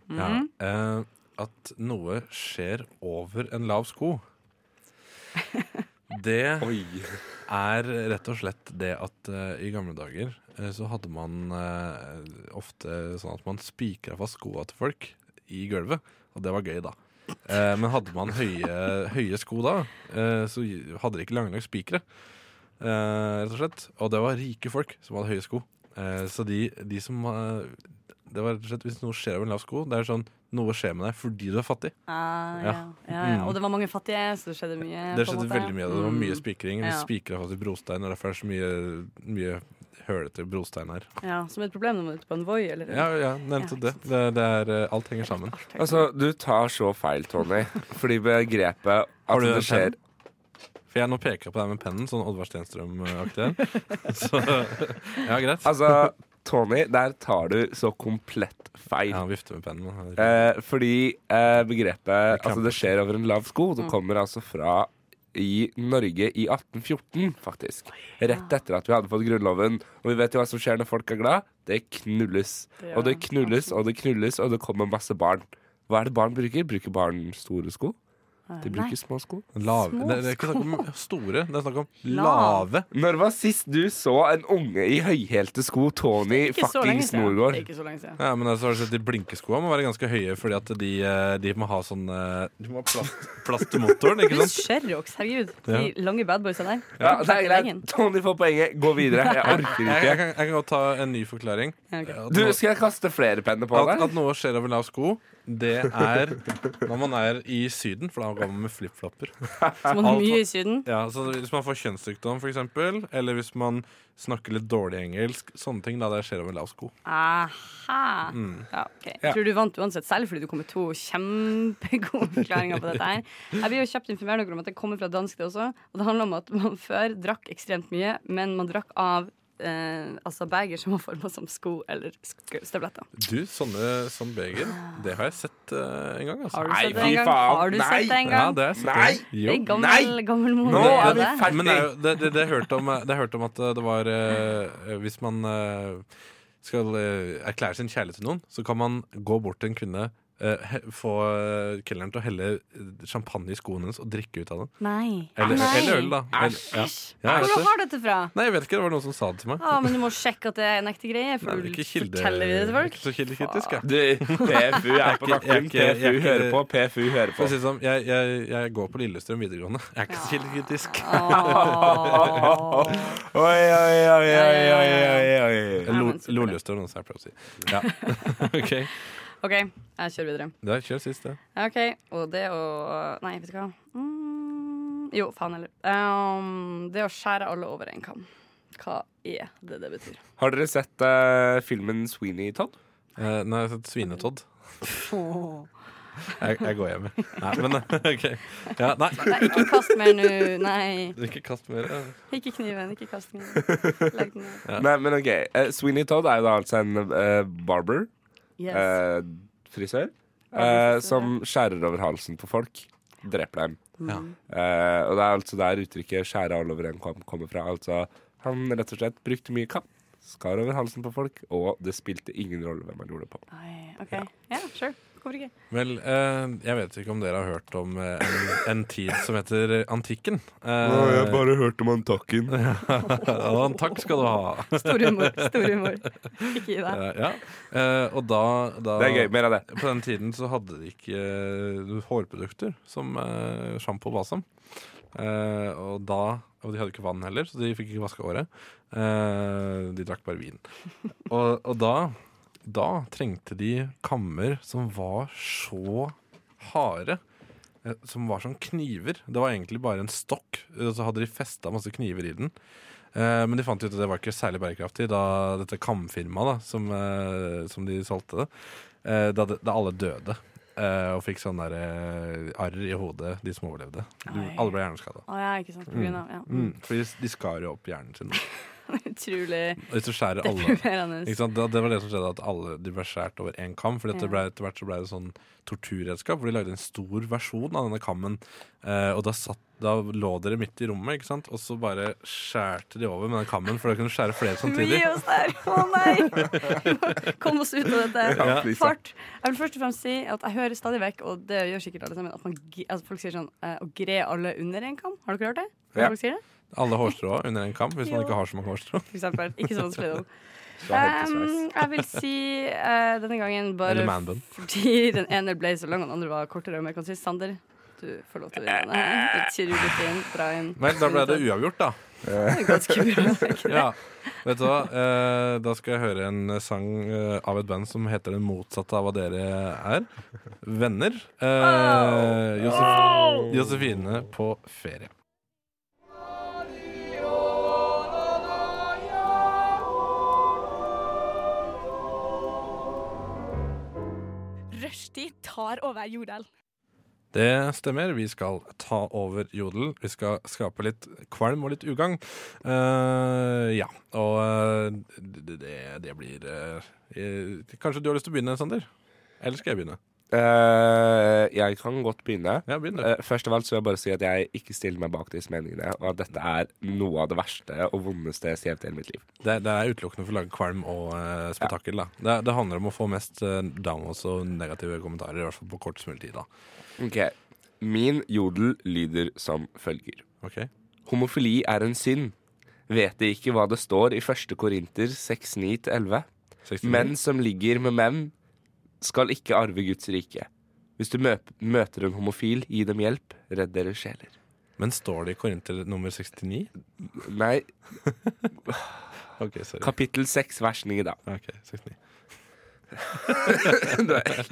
S1: Mm.
S5: Ja. Eh, at noe skjer over en lav sko. Det
S6: Oi.
S5: er rett og slett det at eh, i gamle dager eh, så hadde man eh, ofte sånn at man spikra fast skoa til folk i gulvet, og det var gøy, da. Eh, men hadde man høye, høye sko da, eh, så hadde de ikke lange nok spikere. Eh, rett og slett. Og det var rike folk som hadde høye sko. Eh, så de, de som eh, Det var rett og slett hvis noe skjer over en lav sko, det er sånn noe skjer med deg fordi du er fattig.
S1: Ah, ja.
S5: Ja.
S1: Ja, ja,
S5: Mm.
S1: Og det var mange fattige, så det skjedde mye.
S5: Det
S1: på en
S5: skjedde
S1: måte.
S5: veldig mye av det. Det var mye
S1: Mm.
S5: spikring. Vi
S1: Ja.
S5: spikra fast i brostein, og derfor er det så mye, mye hølete brostein her.
S1: Ja, Som et problem når man er ute på en voi, eller
S5: Ja, ja, nevnte
S1: Ja,
S5: det. det, det er, eh, alt henger sammen.
S6: Altså, du tar så feil, Tony. Fordi begrepet at
S5: du
S6: det
S5: en
S6: skjer
S5: For jeg nå peker jeg på deg med pennen, sånn Oddvar Stenstrøm-aktig her. Så ja, greit.
S6: Altså, Tony, der tar du så komplett feil.
S5: Ja, han vifter med pennen.
S6: Eh, fordi eh, begrepet
S5: kan-
S6: Altså, det skjer over en lav sko.
S1: Mm.
S6: Det kommer altså fra i Norge i 1814, faktisk. Rett etter at vi hadde fått Grunnloven. Og vi vet jo hva som skjer når folk er glad. Det knulles.
S1: Det
S6: Og det
S1: gjør
S6: knulles og det knulles, og det kommer masse barn. Hva er det barn bruker? Bruker barn store sko? De
S1: Nei.
S6: bruker små sko.
S5: Lave.
S1: Små
S5: Det, det er ikke snakk om store, det er snakk om
S1: Lav.
S5: lave.
S6: Når var sist du så en unge i høyhælte sko, Tony
S1: Ikke så lenge
S6: fuckings
S1: siden.
S6: Norgård?
S1: Ikke så lenge siden.
S5: Ja, men altså, har du sett de blinkeskoa må være ganske høye, fordi at de, eh, de må ha sånn eh, De må ha plast, plast til motoren, ikke sant?
S1: Husk Sherrox, herregud.
S5: Ja.
S1: De lange badboysa der.
S6: Ja, det er greit.
S1: Lenge.
S6: Tony får poenget. Gå videre. Jeg orker
S5: Jeg, jeg,
S6: ikke.
S5: kan, jeg kan godt ta en ny forklaring.
S1: Ja, ok.
S5: At
S6: Du,
S5: nå-
S6: skal jeg kaste flere penner på
S5: At,
S6: deg?
S5: at noe skjer over lav sko, det er når man er i Syden, for da går man med flipflopper.
S1: Som man
S5: Alt-
S1: mye i Syden.
S5: Ja, så hvis man får kjønnssykdom, for eksempel, eller hvis man snakker litt dårlig engelsk, sånne ting, da det skjer over lav sko.
S1: Aha.
S5: Mm.
S1: Ja, ok. Jeg tror du vant uansett selv, fordi du kom med to kjempegode forklaringer på dette her. Jeg blir jo kjapt informert dere om at det kommer fra dansk, det også. Og det handler om at man før drakk ekstremt mye, men man drakk av eh, altså beger som var forma som sko eller sk- støvletter.
S5: Du, sånne som Beger, det har jeg sett eh, en gang, altså.
S1: Har du
S6: Nei,
S1: sett det
S6: fy
S1: en gang?
S6: faen,
S1: Har du
S6: nei.
S1: sett det en
S5: Ja,
S1: gang?
S5: det har jeg sett en
S6: Nei!
S5: gang.
S1: Det
S5: Jo.
S1: er gammel, gammel mor.
S6: Nå
S1: det
S6: er
S1: er
S6: vi
S1: det.
S6: ferdig.
S5: Men det, er jo, det, det, det, hørte om, det hørte om at det var eh, Hvis man eh, skal eh, erklære sin kjærlighet til noen, så kan man gå bort til en kvinne, eh, he, få eh, kelneren til å helle eh, champagne i skoene hennes og drikke ut av den.
S1: Nei.
S5: Eller,
S1: Nei.
S5: eller øl, da. Eller, ja.
S1: Æsj.
S5: Ja, jeg vet
S1: Hvor
S5: det.
S1: har du dette fra?
S5: Nei, jeg vet ikke. Det var noen som sa det til meg.
S1: Å, men du må sjekke at det er en ekte greie,
S5: Nei,
S1: for
S5: det er
S1: du
S5: ikke kilde-
S1: forteller vi det til folk.
S5: Ikke så kildekritisk, jeg.
S6: Du, PFU er
S5: Jeg er
S6: på
S5: ikke- jeg er
S6: nakken.
S5: ikke- jeg er
S6: PFU
S5: ikke-
S6: hører på. PFU hører
S5: For
S6: på.
S5: å si det sånn, jeg, jeg, jeg går på Lillestrøm videregående. Jeg er ikke så kildekritisk.
S1: Åh.
S6: Oi, oi, oi, oi, oi, oi, oi.
S1: Ja, men
S5: Lo-
S1: så bra.
S5: Lollestrøm, altså, jeg prøver å si. Ja. OK.
S1: OK, jeg kjører videre.
S5: Det er kjør sist, det.
S1: Ok, Og det å Nei, vet du hva. Mm, jo, faen heller. Ehm, det å skjære alle over en kam. Hva er det det betyr?
S6: Har dere sett eh, filmen Sweeney Todd?
S5: Eh, Nei, jeg har sett Svinetodd. Jeg, jeg går hjem, jeg. Nei, men OK. Ja, nei.
S1: Nei, ikke kast mer nå. Nei.
S5: Ikke kast mer. ja.
S1: Ikke kniven. Ikke kast kniven. Legg den ned.
S6: Nei, men ok. eh, Sweeney Todd er jo da altså en eh, barber,
S1: Yes.
S6: eh, frisør, eh, som skjærer over halsen på folk. Dreper dem.
S5: Ja.
S6: Eh, og det er altså der uttrykket 'skjære all over en kam' kommer fra. Altså, han rett og slett brukte mye kam, skar over halsen på folk, og det spilte ingen rolle hvem han gjorde det på.
S1: Nei, OK. Ja, sure. Hvorfor ikke?
S5: Vel, eh, jeg vet ikke om dere har hørt om eh, en, en tid som heter antikken. Eh,
S6: bare hørte om han takken.
S5: og en takk skal du ha.
S1: Stor humor. Stor humor. Ikke gi deg.
S5: Eh, ja. Eh, og da, da
S6: Det er gøy. Mer av det.
S5: På den tiden så hadde de ikke eh, hårprodukter som eh, sjampo og balsam. Eh, og da Og de hadde ikke vann heller, så de fikk ikke vaska håret. Eh, de drakk bare vin. Og, og da, da trengte de kammer som var så harde. eh, Som var som kniver. Det var egentlig bare en stokk. eh, Så hadde de festa masse kniver i den. Eh, men de fant ut at det var ikke særlig bærekraftig da dette kamfirmaet da, som, eh, som de solgte det, eh, da, det- da alle døde. eh, og fikk sånn der eh, arr i hodet, de som overlevde. Du,
S1: Oi.
S5: alle ble hjerneskada.
S1: Å ja, ikke sant. På grunn av ja.
S5: Mm, fordi de skar jo opp hjernen sin. Og
S1: Utrolig
S5: hvis du skjærer alle
S1: deprimerende.
S5: ikke sant? Det, det var det som skjedde, at alle de ble skåret over én kam. For
S1: Ja.
S5: det ble, etter hvert så ble det sånn torturredskap, hvor de lagde en stor versjon av denne kammen. Eh, og da, satt, da lå dere midt i rommet, ikke sant? og så bare skjærte de over med den kammen, for da kunne du skjære flere
S1: Gi
S5: samtidig.
S1: oss der! Å nei! Kom oss ut av dette.
S6: Ja, Lisa.
S1: Fart. Jeg vil først og fremst si at jeg hører stadig vekk, og det gjør sikkert alle sammen, at man, gi- altså folk sier sånn eh, å gre alle under en kam. Har dere hørt det? Hva
S6: Ja.
S1: folk sier det?
S5: Alle hårstrå under en kam, hvis
S1: Jo.
S5: man ikke har så mange hårstrå.
S1: For eksempel. Ikke sånn så vanskelig, da.
S6: Det er helt
S1: Um,
S6: besveis.
S1: jeg vil si eh, denne gangen bare
S5: Eller manbun.
S1: fordi den ene ble så lang, og den andre var kortere og mer konsist. Sander, du får lov til å vinne. denne. Kirurgisk inn, bra inn.
S5: Vel, da ble det uavgjort, da.
S1: Det er Ganske bra.
S5: Ja. Vet du hva? Eh, da skal jeg høre en sang eh, av et band som heter det motsatte av hva dere er. Venner. Eh, Josef Josefine på ferie.
S4: Rushtid tar over Jordal.
S5: Det stemmer. Vi skal ta over Jodel. Vi skal skape litt kvalm og litt ugagn. Eh, ja, og eh, det, det- det blir eh, eh, Kanskje du har lyst til å begynne, Sander? Eller skal jeg begynne?
S6: Eh, jeg kan godt begynne.
S5: Ja, begynn du.
S6: Eh, først av alt så vil jeg bare si at jeg ikke stiller meg bak disse meningene, og at dette er noe av det verste og vondeste jeg har sett i hele mitt liv.
S5: Det, det er utelukkende for å lage kvalm og uh, spetakkel. Da. Det, det handler om å få mest uh, downloads og negative kommentarer, i hvert fall på kortest mulig tid. Da.
S6: Ok, Min jodel lyder som følger.
S5: Ok?
S6: Homofili er en synd. Vet de ikke hva det står i 1. Korinter 6.9-11?
S5: 69.
S6: Menn som ligger med menn, skal ikke arve Guds rike. Hvis du mø- møter en homofil, gi dem hjelp. Redd deres sjeler.
S5: Men står det i Korinter nummer 69?
S6: Nei,
S5: Ok, sorry.
S6: kapittel 6, vers 9, da.
S5: Ok, 69.
S6: Det er-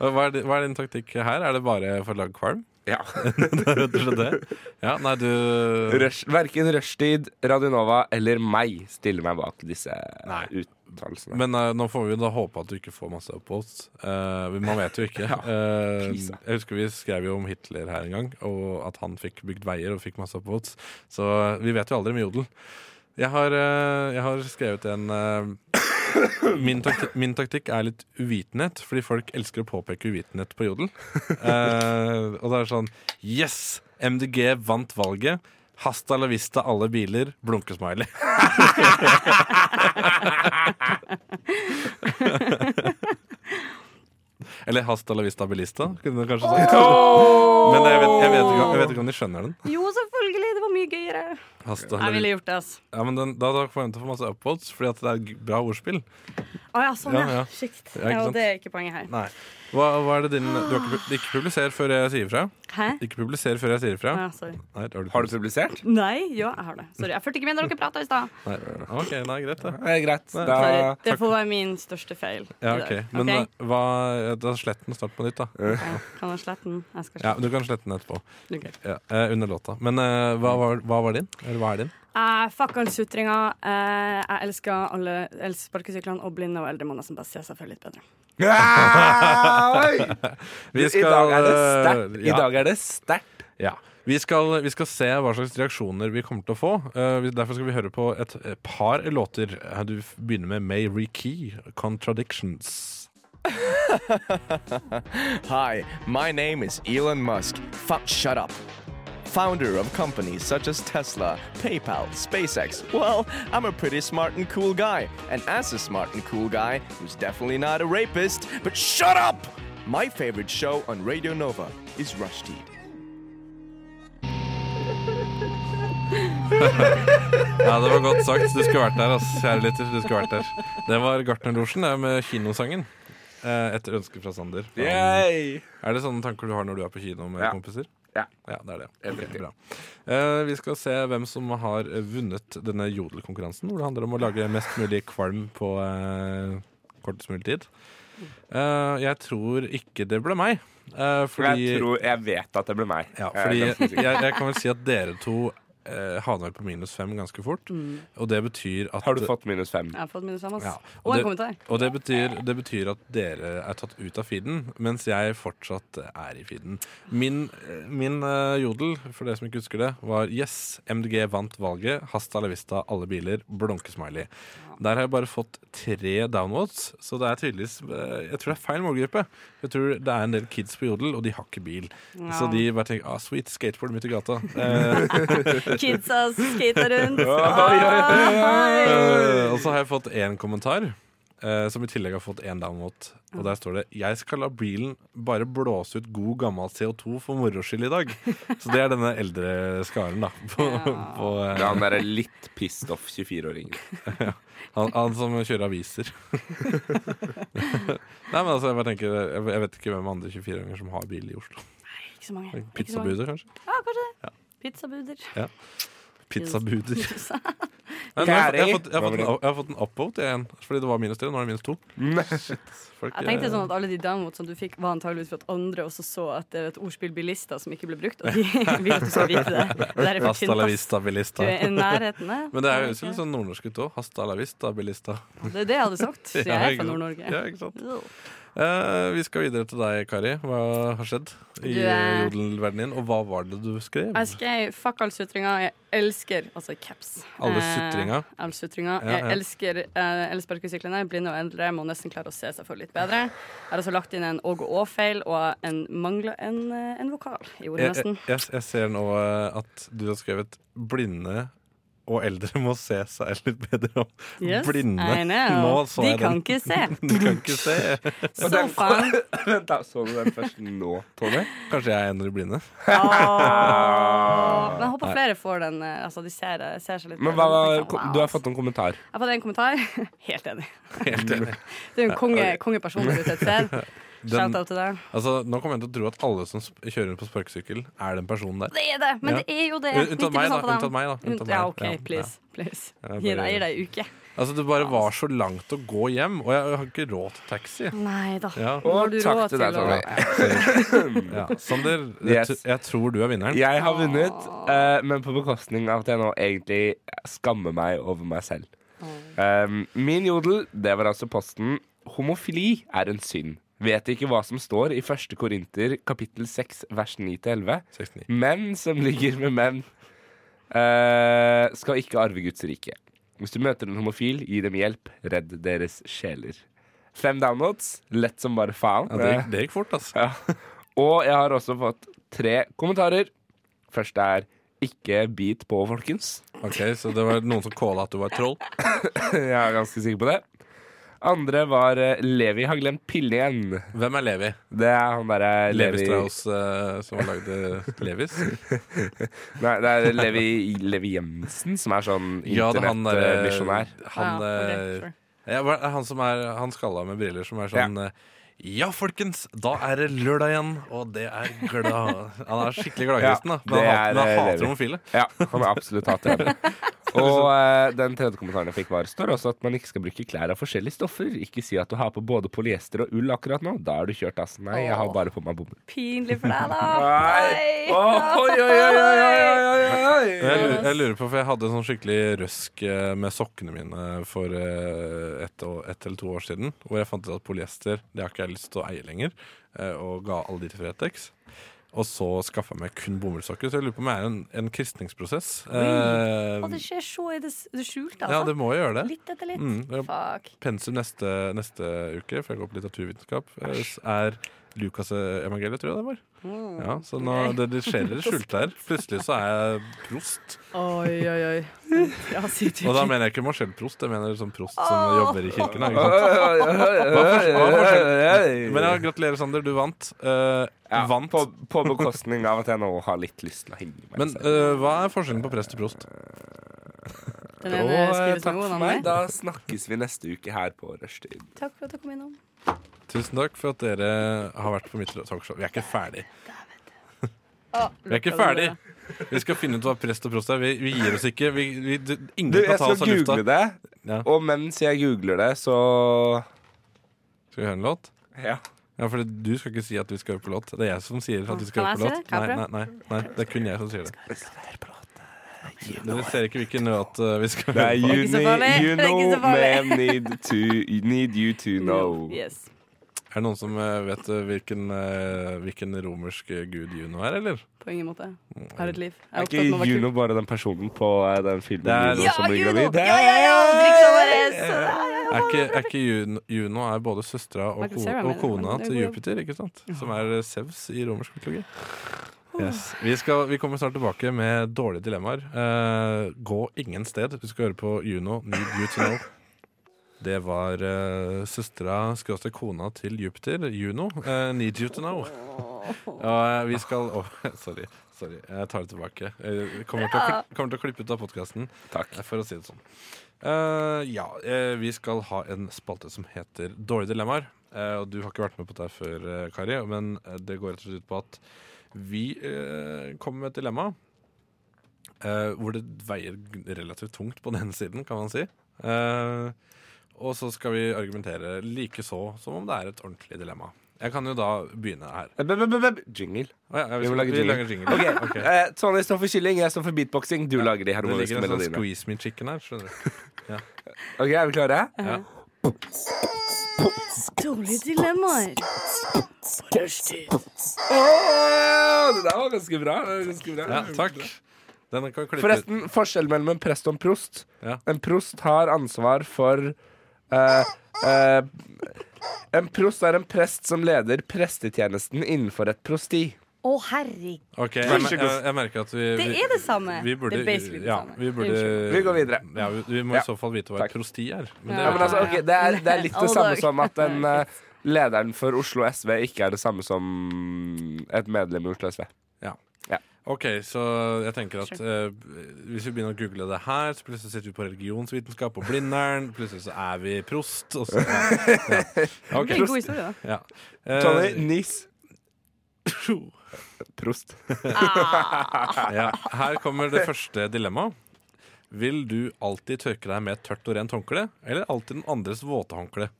S5: Og Hva er, di- hva er din taktikk her? Er det bare for å lage kvalm?
S6: ja.
S5: Det er rett og slett det. Ja, nei, du
S6: Rush, verken Rushtid, Radionova eller meg stiller meg bak disse
S5: Nei.
S6: uttalelsene.
S5: Men eh, nå får vi jo da håpe at du ikke får masse oppholds. Eh, men man vet jo ikke.
S6: Ja,
S5: Eh,
S6: krise.
S5: jeg husker vi skrev jo om Hitler her en gang, og at han fikk bygd veier og fikk masse oppholds. Så eh, vi vet jo aldri med jodel. Jeg har, eh, jeg har skrevet en eh, min, taktikk, min taktikk er litt uvitenhet, fordi folk elsker å påpeke uvitenhet på jodel. Eh, og det er sånn Yes! MDG vant valget. Hasta la vista alle biler. Blunkesmiley. Eller Hasta la vista bilista, kunne du kanskje sagt. Men jeg vet, jeg, vet ikke, om- jeg vet ikke om de skjønner den.
S1: Jo, selvfølgelig. Det var mye gøyere.
S5: Hasta la
S1: Jeg ville
S5: vista.
S1: gjort det, altså.
S5: Ja, men den, da da forventer jeg å få masse upvotes, fordi at det er g- bra ordspill.
S1: Å ja, sånn,
S5: Ja, ja.
S1: ja. Shit.
S5: Ja, ikke
S1: Ja,
S5: sant?
S1: det er ikke poenget her.
S5: Nei. Hva, hva er det din Du har ikke, pu- ikke publiser før jeg sier fra?
S1: Hæ?
S5: Ikke publiser før jeg sier fra?
S1: Ja, sorry.
S5: Nei, har du,
S6: Har du publisert?
S1: Nei, jo, jeg har det. Sorry. Jeg fulgte ikke med når dere prata i stad.
S5: Nei. OK, nei, greit, det.
S6: Det er greit.
S1: Sorry.
S6: Da
S1: Det får være min største feil. i
S5: Ja,
S1: dag.
S5: ok Men
S1: Ok?
S5: eh, hva Da slett den snart på nytt, da.
S1: Ja, Kan jeg slette den? Jeg skal
S5: Ja,
S1: slette
S5: Du kan slette den etterpå.
S1: den. Ok.
S5: Ja, eh, under låta. Men eh, hva, var, hva var din? Eller hva er din?
S1: Eh, fuck all sutringa. Eh, jeg elsker alle elsker sparkesyklene og blinde og eldre manner som bare ser seg for litt bedre.
S6: Ja, oi!
S5: Vi
S6: I dag er det
S5: eh,
S6: sterkt. I
S5: ja.
S6: dag er det sterkt.
S5: Ja. Vi skal, vi skal se hva slags reaksjoner vi kommer til å få. Eh, vi- derfor skal vi høre på et eh, par låter. Eh, Du f- begynner med May Rekey, 'Contradictions'.
S10: Hi, my name is Elon Musk. Fuck, shut up. Founder of companies such as Tesla, PayPal, SpaceX. Well, I'm a pretty smart and cool guy. And as a smart and cool guy, who's definitely not a rapist, but shut up! My favorite show on Radio Nova is Rush Teed.
S5: Ja, det var godt sagt. Du skulle vært der, ass. Kjære lytter, du skulle vært der. Det var Gartnerlosjen det, med kinosangen. Eh, etter ønske fra Sander. Er det sånne tanker du har når du er på kino med
S6: Ja.
S5: kompiser?
S6: Ja.
S5: ja, det er det.
S6: Helt
S5: Ok,
S6: riktig.
S5: bra. Eh, vi skal se hvem som har vunnet denne jodelkonkurransen, hvor det handler om å lage mest mulig kvalm på eh, kortest mulig tid. Eh, jeg tror ikke det ble meg, eh, fordi
S6: Jeg tror Jeg vet at det ble meg.
S5: ja,
S6: Jeg er ganske
S5: fordi
S6: sikker.
S5: jeg, jeg kan vel si at dere to eh, havner på minus fem ganske fort.
S1: Mm.
S5: Og det betyr at
S6: Har du fått minus fem?
S1: Jeg har fått minus fem, ass.
S5: Ja.
S1: Og, en
S5: det,
S1: kommentar.
S5: og det, betyr, det betyr at dere er tatt ut av feeden, mens jeg fortsatt er i feeden. Min, eh, min eh, jodel, for dere som ikke husker det, var Yes, MDG vant valget. Hasta la vista, alle biler. Blunkesmiley. Der har jeg bare fått tre downvotes, så det er tydeligvis eh, Jeg tror det er feil målgruppe. Jeg tror det er en del kids på jodel, og de har ikke bil.
S1: Ja.
S5: Så de bare tenker ah, sweet, skateboard midt i gata. Eh,
S1: Kidsa skater rundt. Ah,
S5: Eh, og så har jeg fått én kommentar, eh, som i tillegg har fått én downvote. Og der står det 'Jeg skal la bilen bare blåse ut god gammel CO2 for moro skyld i dag'. Så det er denne eldre skaren, da. På, på, eh,
S6: Ja, han der er litt pissed off 24-åringen.
S5: ja. han, han som kjører aviser. Nei, men altså, jeg bare tenker Jeg jeg vet ikke hvem andre 24-åringer som har bil i Oslo.
S1: Ikke så mange. Ikke så mange.
S5: Pizzabuder, kanskje?
S1: Ja, kanskje det. Pizzabuder.
S5: Ja. Pizzabuder.
S1: Pizza.
S5: Nei, nå har jeg, jeg, har
S6: Kari.
S5: fått, jeg, har fått en, jeg har fått en upvote igjen, fordi det var minus tre. Nå er det minus to. Shit, folk,
S1: Jeg tenkte
S5: eh,
S1: sånn at Alle de downvotes som du fikk, var antageligvis for at andre også så at det er et ordspill bilister som ikke ble brukt, og de vil at du skal vite det. det. der er
S5: Hasta la
S1: fortjent, ass.
S5: vista, bilista.
S1: Du er i nærheten, ja.
S5: Men det høres jo litt sånn nordnorsk ut òg. Hasta la vista, bilista.
S1: Det er det jeg hadde sagt. Så jeg
S5: Ja,
S1: er
S5: ikke
S1: fra
S5: sant.
S1: Nord-Norge.
S5: Ja, ikke sant. Eh, vi skal videre til deg, Kari. Hva har skjedd i
S1: Du er- Altså,
S5: eh, jodelverdenen din? Og hva var det du skrev?
S1: Jeg skrev 'fuck all sutringa'. Jeg elsker altså caps.
S5: Alle
S1: Eh,
S5: sutringa?
S1: all sutringa.
S5: Ja,
S1: Jeg
S5: ja.
S1: elsker eh, elsparkesyklene. Blinde og eldre må nesten klare å se seg for litt bedre. Jeg har også lagt inn en Åge Å-feil og en mangla en, eh, en vokal i
S5: Jeg,
S1: ordet,
S5: jeg,
S1: nesten.
S5: jeg, jeg ser nå eh, at du har skrevet 'blinde og eldre må se seg litt bedre om'.
S1: Yes,
S5: eh, blinde.
S1: I know.
S5: Nå så
S1: De
S5: jeg
S1: kan
S5: den.
S1: ikke se.
S5: De kan ikke se.
S1: So fun.
S6: Vent da, Så du den først nå, Tony? Ah.
S5: Kanskje jeg er en av de blinde?
S1: Åh. Men jeg håper flere får den. eh, Altså, de ser, det- ser seg litt
S6: Men
S1: bedre.
S6: hva,
S1: Tenker sånn, wow.
S6: du har fått noen kommentar.
S1: Jeg har fått en kommentar. Helt enig.
S5: Helt enig.
S1: Du er jo en konge, kongeperson ute et sted.
S5: Den-
S1: Shout out til deg.
S5: Altså, nå kommer jeg til å tro at alle som sp- kjører rundt på sparkesykkel, er den personen der.
S1: Det er det, men
S5: Ja.
S1: det er jo det. sånn
S5: U- Unntatt meg, da.
S1: 90% av dem.
S5: Unntatt meg, da. Unntatt
S1: Unt- ja,
S5: meg.
S1: OK,
S5: Ja,
S1: please.
S5: ja.
S1: please.
S5: Jeg bare-
S1: Gi deg, gir deg ei uke.
S5: Altså, det bare var så langt å gå hjem, og jeg har ikke råd til taxi.
S1: Nei da.
S5: Ja.
S1: Nå har du
S6: takk
S1: råd
S6: til deg,
S1: å-
S6: Tony.
S5: Ja. Sander, jeg,
S6: Yes.
S5: tr- jeg tror du er vinneren.
S6: Jeg har vunnet, eh, men på bekostning av at jeg nå egentlig skammer meg over meg selv.
S1: Mm.
S6: Um, min jodel, det var altså posten 'Homofili er en synd'. Vet ikke hva som står i 1. Korinter kapittel 6 vers 9-11.
S5: 69.
S6: Menn som ligger med menn, eh, skal ikke arve Guds rike. Hvis du møter en homofil, gi dem hjelp. Redd deres sjeler. Fem downloads. Lett som bare faen.
S5: Ja, det, gikk, det gikk fort, altså.
S6: Ja. Og jeg har også fått tre kommentarer. Først er 'ikke bit på, folkens'.
S5: Ok, Så det var noen som calla at du var et troll?
S6: Jeg er ganske sikker på det. Andre var eh, 'Levi har glemt pillene igjen'.
S5: Hvem er Levi?
S6: Det er han derre
S5: Levi Strauss, eh, som lagde Levis?
S6: Nei, det er Levi, Levi Jensen som er sånn
S5: Ja, det er han eh, derre
S6: internettmisjonær.
S5: Han,
S1: Ja, ok,
S5: eh,
S1: sure.
S5: ja, hva er det? han som er han skalla med briller, som er sånn
S6: Ja.
S5: eh, ja, folkens, da er det lørdag igjen, og det er glad Han er skikkelig gladkristen, da. Men
S6: det
S5: han hat-
S6: er,
S5: men
S6: eh,
S5: han hater
S6: Levi.
S5: homofile.
S6: Ja, han er absolutt hater. Og eh, den tredje kommentaren jeg fikk, var står også at man ikke skal bruke klær av forskjellige stoffer. Ikke si at du har på både polyester og ull akkurat nå. Da er du kjørt, ass. Nei, jeg har bare på meg bomber.
S1: Pinlig for deg, da.
S6: Nei.
S1: Nei.
S6: oi, oi, oi, oi, oi, oi,
S5: Jeg lurer, jeg lurer på, for jeg hadde sånn skikkelig røsk eh, med sokkene mine for eh, ett og- ett eller to år siden. Hvor jeg fant ut at polyester det har ikke jeg lyst til å eie lenger, eh, og ga alle de til Fretex. Og så skaffa jeg meg kun bomullssokker, så jeg lurer på om jeg er en, en kristningsprosess.
S1: Å, det
S5: Eh,
S1: skjer så i det, s- det skjulte,
S5: ja, det
S1: altså.
S5: må jo gjøre det.
S1: Litt etter litt.
S5: Mm, det er
S1: Fuck.
S5: pensum neste, neste uke, for jeg går på litteraturvitenskap, eh, s- er Lukasevangeliet, tror jeg det var.
S1: Mm.
S5: Ja, så nå, det, det skjer i det skjulte her. Plutselig så er jeg prost.
S1: Oi, oi, oi. Ja, sier du
S5: Og da
S1: ikke.
S5: mener jeg ikke Marcel Prost, jeg mener sånn prost som jobber i kirken. da, Ikke sant? Men ja, gratulerer, Sander, du vant. Eh,
S6: Ja,
S5: vant.
S6: På, på bekostning av at jeg nå har litt lyst til å henge meg
S5: Men
S6: selv.
S5: eh, hva er forskjellen på prest og prost?
S6: Og,
S1: Den ene
S6: eh,
S1: skrives med
S6: takk
S1: god
S6: for
S1: navn.
S6: meg.
S1: der.
S6: Da snakkes vi neste uke her på Rushtid.
S1: Takk for at du kom innom.
S5: Tusen takk for at dere har vært på mitt talkshow. Vi er ikke ferdig.
S1: Å,
S5: Vi er ikke
S1: lukka det
S5: ferdig. Vi skal finne ut hva prest og prost er. Vi, vi gir oss ikke. Vi, vi, du, ingen
S6: Du,
S5: kan
S6: jeg
S5: ta
S6: skal
S5: oss av lufta.
S6: google det,
S5: Ja.
S6: og mens jeg googler det, så
S5: Skal vi høre en låt?
S6: Ja.
S5: Ja, for du skal ikke si at vi skal høre på låt. Det er jeg som sier at vi skal
S1: Kan
S5: høre
S1: jeg
S5: på
S1: si det?
S5: låt.
S1: Kan
S5: Nei,
S1: jeg
S5: nei, nei, nei, det er kun jeg som sier det. Dere ser ikke hvilken nøt eh, vi skal
S6: Nei,
S5: på.
S6: you,
S1: Ikke så
S6: need,
S1: farlig.
S6: you
S1: Det er ikke
S6: know,
S1: så farlig.
S6: man need, to, need you to know.
S1: Yes.
S5: Er det noen som eh, vet eh, hvilken, eh, hvilken romersk eh, gud Juno er, eller?
S1: På ingen måte. Har et liv. Jeg
S6: Er
S1: er opptatt
S6: ikke
S1: med å være kul.
S6: Juno bare den personen på eh, den filmen
S5: Det er-
S6: Juno
S1: Ja,
S6: som blir
S1: Juno!
S6: gravid?
S1: Ja, sånn, ja, ja! Drikksa vår!
S5: Er ikke, er ikke Juno, Juno er både søstera og,
S1: Michael
S5: ko
S1: Cera
S5: og
S1: mener-
S5: kona
S1: det
S5: til
S1: går jo-
S5: Jupiter, ikke sant? Som er eh, Sevs i romersk mytologi. Yes. Vi, skal, vi kommer snart tilbake med dårlige dilemmaer. Eh, gå ingen sted. Du skal høre på Juno, Need You To Know. Det var uh, søstera, skråstrek kona til Jupiter, Juno, eh, Need You To Know. Ja, vi skal Å, Sorry. sorry, Jeg tar det tilbake. Jeg kommer, til å, kli- kommer til å klippe ut av podkasten, for å si det sånn. Eh, ja, eh, vi skal ha en spalte som heter Dårlige dilemmaer. Eh, og du har ikke vært med på dette før, eh, Kari, men eh, det går rett og slett ut på at vi eh, kommer med et dilemma eh, hvor det veier g- relativt tungt på den ene siden, kan man si. Eh, og så skal vi argumentere likeså som om det er et ordentlig dilemma. Jeg kan jo da begynne her.
S6: Eh, b- b- b- b- Jingle.
S5: Å ja, ja,
S6: Vi må lage
S5: vi
S6: jingle.
S5: lager jingle.
S6: Ok,
S5: Ok.
S6: eh, Tonje står for kylling, jeg står for beatboxing. Du lager de
S5: Det ligger
S6: harmoniske
S5: en sånn
S6: melodiene.
S5: squeeze me chicken her. skjønner du
S6: Ok, Er vi klare?
S5: ja.
S1: Dårlige dilemmaer.
S6: Åh, det der var ganske bra. det var Ganske bra.
S5: ja, Takk. Den kan vi klippe ut.
S6: Forresten, forskjell mellom en prest og en prost.
S5: Ja.
S6: En prost har ansvar for eh, eh, En prost er en prest som leder prestetjenesten innenfor et prosti.
S7: Å, herregud.
S5: Ok, jeg, jeg, jeg merker at vi
S1: Det
S5: vi-
S1: er det samme.
S5: Vi burde,
S1: det er basically det
S5: ja,
S1: samme.
S5: vi, burde
S1: Unnskyld.
S6: Vi går videre.
S5: Ja, vi, vi må
S6: Ja.
S5: i så fall vite hva et
S6: Takk.
S5: prosti er. Men
S1: Ja.
S5: det
S6: Ja,
S5: vet
S6: men altså,
S5: jeg ikke.
S6: ok, det, er, det er litt det
S1: Alle
S6: samme
S1: dager.
S6: som at den eh, lederen for Oslo SV ikke er det samme som et medlem i Oslo SV.
S5: ok, så jeg tenker at eh, hvis vi begynner å google det her, så plutselig sitter vi på religionsvitenskap og Blindern. Plutselig så er vi prost. Og så, ja. Ja.
S1: Det
S5: Ok.
S1: er en god historie, da.
S5: Ja.
S6: Tony,
S5: Eh,
S6: nis. Prost.
S5: ja. Her kommer det første dilemmaet. Vil du alltid tørke deg med et tørt og rent håndkle, eller alltid den andres våte håndkle?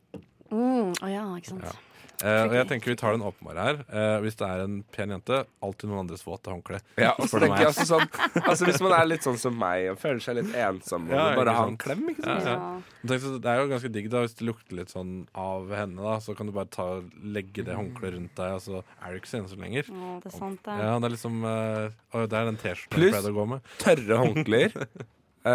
S1: Mm, å ja, ikke sant.
S5: Ja. Eh, og jeg tenker vi tar den åpenbare her. Eh, hvis det er en pen jente, alltid noen andres våte håndkle.
S6: Ja, og så
S5: For
S6: tenker
S5: meg.
S6: jeg også sånn Altså Hvis man er litt sånn som meg og føler seg litt ensom, og
S5: Ja, ikke
S6: bare ha en
S5: sant.
S6: klem ikke sant?
S5: Ja, ja.
S1: Ja.
S5: Tenk, så det er jo ganske digg da hvis det lukter litt sånn av henne, da så kan du bare ta, legge det håndkleet rundt deg, og så er du ikke så ensom lenger.
S1: Å, det er sant, det.
S5: Mm. Ja, det er liksom eh, å, Det er den T-skjorta jeg
S6: Pluss-
S5: pleide å gå med.
S6: Tørre håndklær. Eh,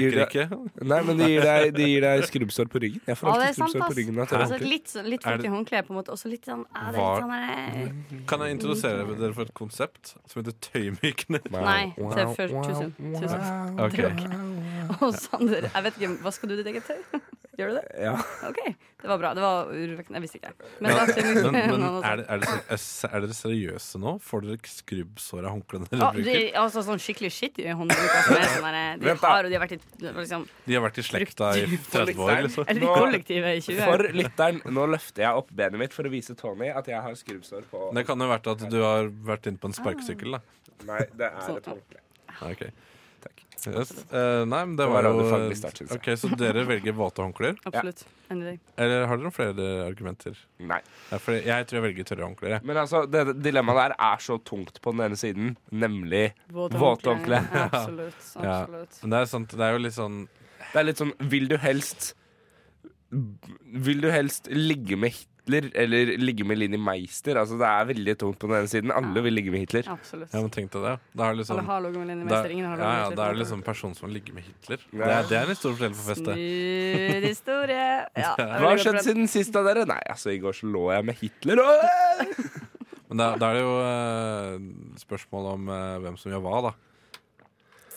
S6: gir
S5: Tørker
S6: deg-
S5: ikke.
S6: Nei, men det gir deg, det gir deg skrubbsår på ryggen. Jeg får
S1: Ja, det er
S6: alltid
S1: sant,
S6: skrubbsår på
S1: ass.
S6: ryggen av tørre
S1: Altså,
S6: håndklær.
S1: litt sånn- litt
S5: Er det-
S1: fuktig håndkle, på en måte. Og så litt sånn er det
S5: Var-
S1: litt sånn der,
S5: Kan jeg introdusere dere for et konsept som heter tøymykner?
S1: eh, Nei, det er for tusen. tusen.
S5: Ok.
S1: Og Sander, jeg vet ikke, hva skal du i ditt eget tøy? Gjør du det?
S6: Ja.
S1: OK, det var bra. Det var urovekkende. Jeg visste ikke. Men,
S5: Men,
S1: da skal vi-
S5: men, men
S1: noen sånn.
S5: er,
S1: andre.
S5: det, er, det, seri- er dere seriøse nå? Får dere skrubbsår av håndklærne dere
S1: Ja,
S5: bruker?
S1: de, altså sånn skikkelig shit i håndbruka som er sånn der, eh, De
S6: Vent da.
S1: har og de har vært i liksom,
S5: De har vært i slekta i 30 år, liksom.
S1: Eller i kollektivet i 20 år.
S6: For lytteren, nå løfter jeg opp benet mitt for å vise Tony at jeg har skrubbsår på
S5: Det kan jo ha vært at du har vært inne på en sparkesykkel, da.
S6: Nei, det er et håndkle.
S5: Ok. Yes. Eh, nei, men det
S6: Ah. var
S5: var jo
S6: radiofaglig start, synes jeg.
S5: Ok, Så dere velger våte håndklær?
S1: Absolutt. Enig i deg.
S5: Eller har dere noen flere argumenter?
S6: Nei.
S5: Ja, for jeg tror jeg velger tørre håndklær. jeg.
S6: Men altså, det det dilemmaet der er så tungt på den ene siden, nemlig
S1: Våt
S6: Våt
S1: håndkle.
S6: håndkle.
S1: Ja, Absolutt.
S5: Ja.
S1: absolutt.
S5: Men det er, sant, det er jo litt sånn
S6: Det er litt sånn Vil du helst Vil du helst ligge med Hitler eller ligge med Linni Meister? Altså Det er veldig tungt på den ene siden. Alle vil ligge med Hitler.
S1: absolutt.
S5: Ja, men tenk deg det. Da er det liksom
S1: Alle har logo med Linni
S5: da,
S1: Meister. Ingen
S5: ja,
S1: har logo
S5: ja,
S1: med
S5: da er det
S1: Hitler.
S5: liksom personen som ligger med Hitler.
S6: Ja.
S5: Det er, det er en stor forskjell på festet.
S1: Snud historie. Ja, det er
S6: Hva har
S1: veldig
S6: skjedd
S1: godt
S6: siden sist av dere? Nei, altså, i går så lå jeg med Hitler. Åh!
S5: Men da, da er det jo eh, spørsmål om eh, hvem som gjør hva, da.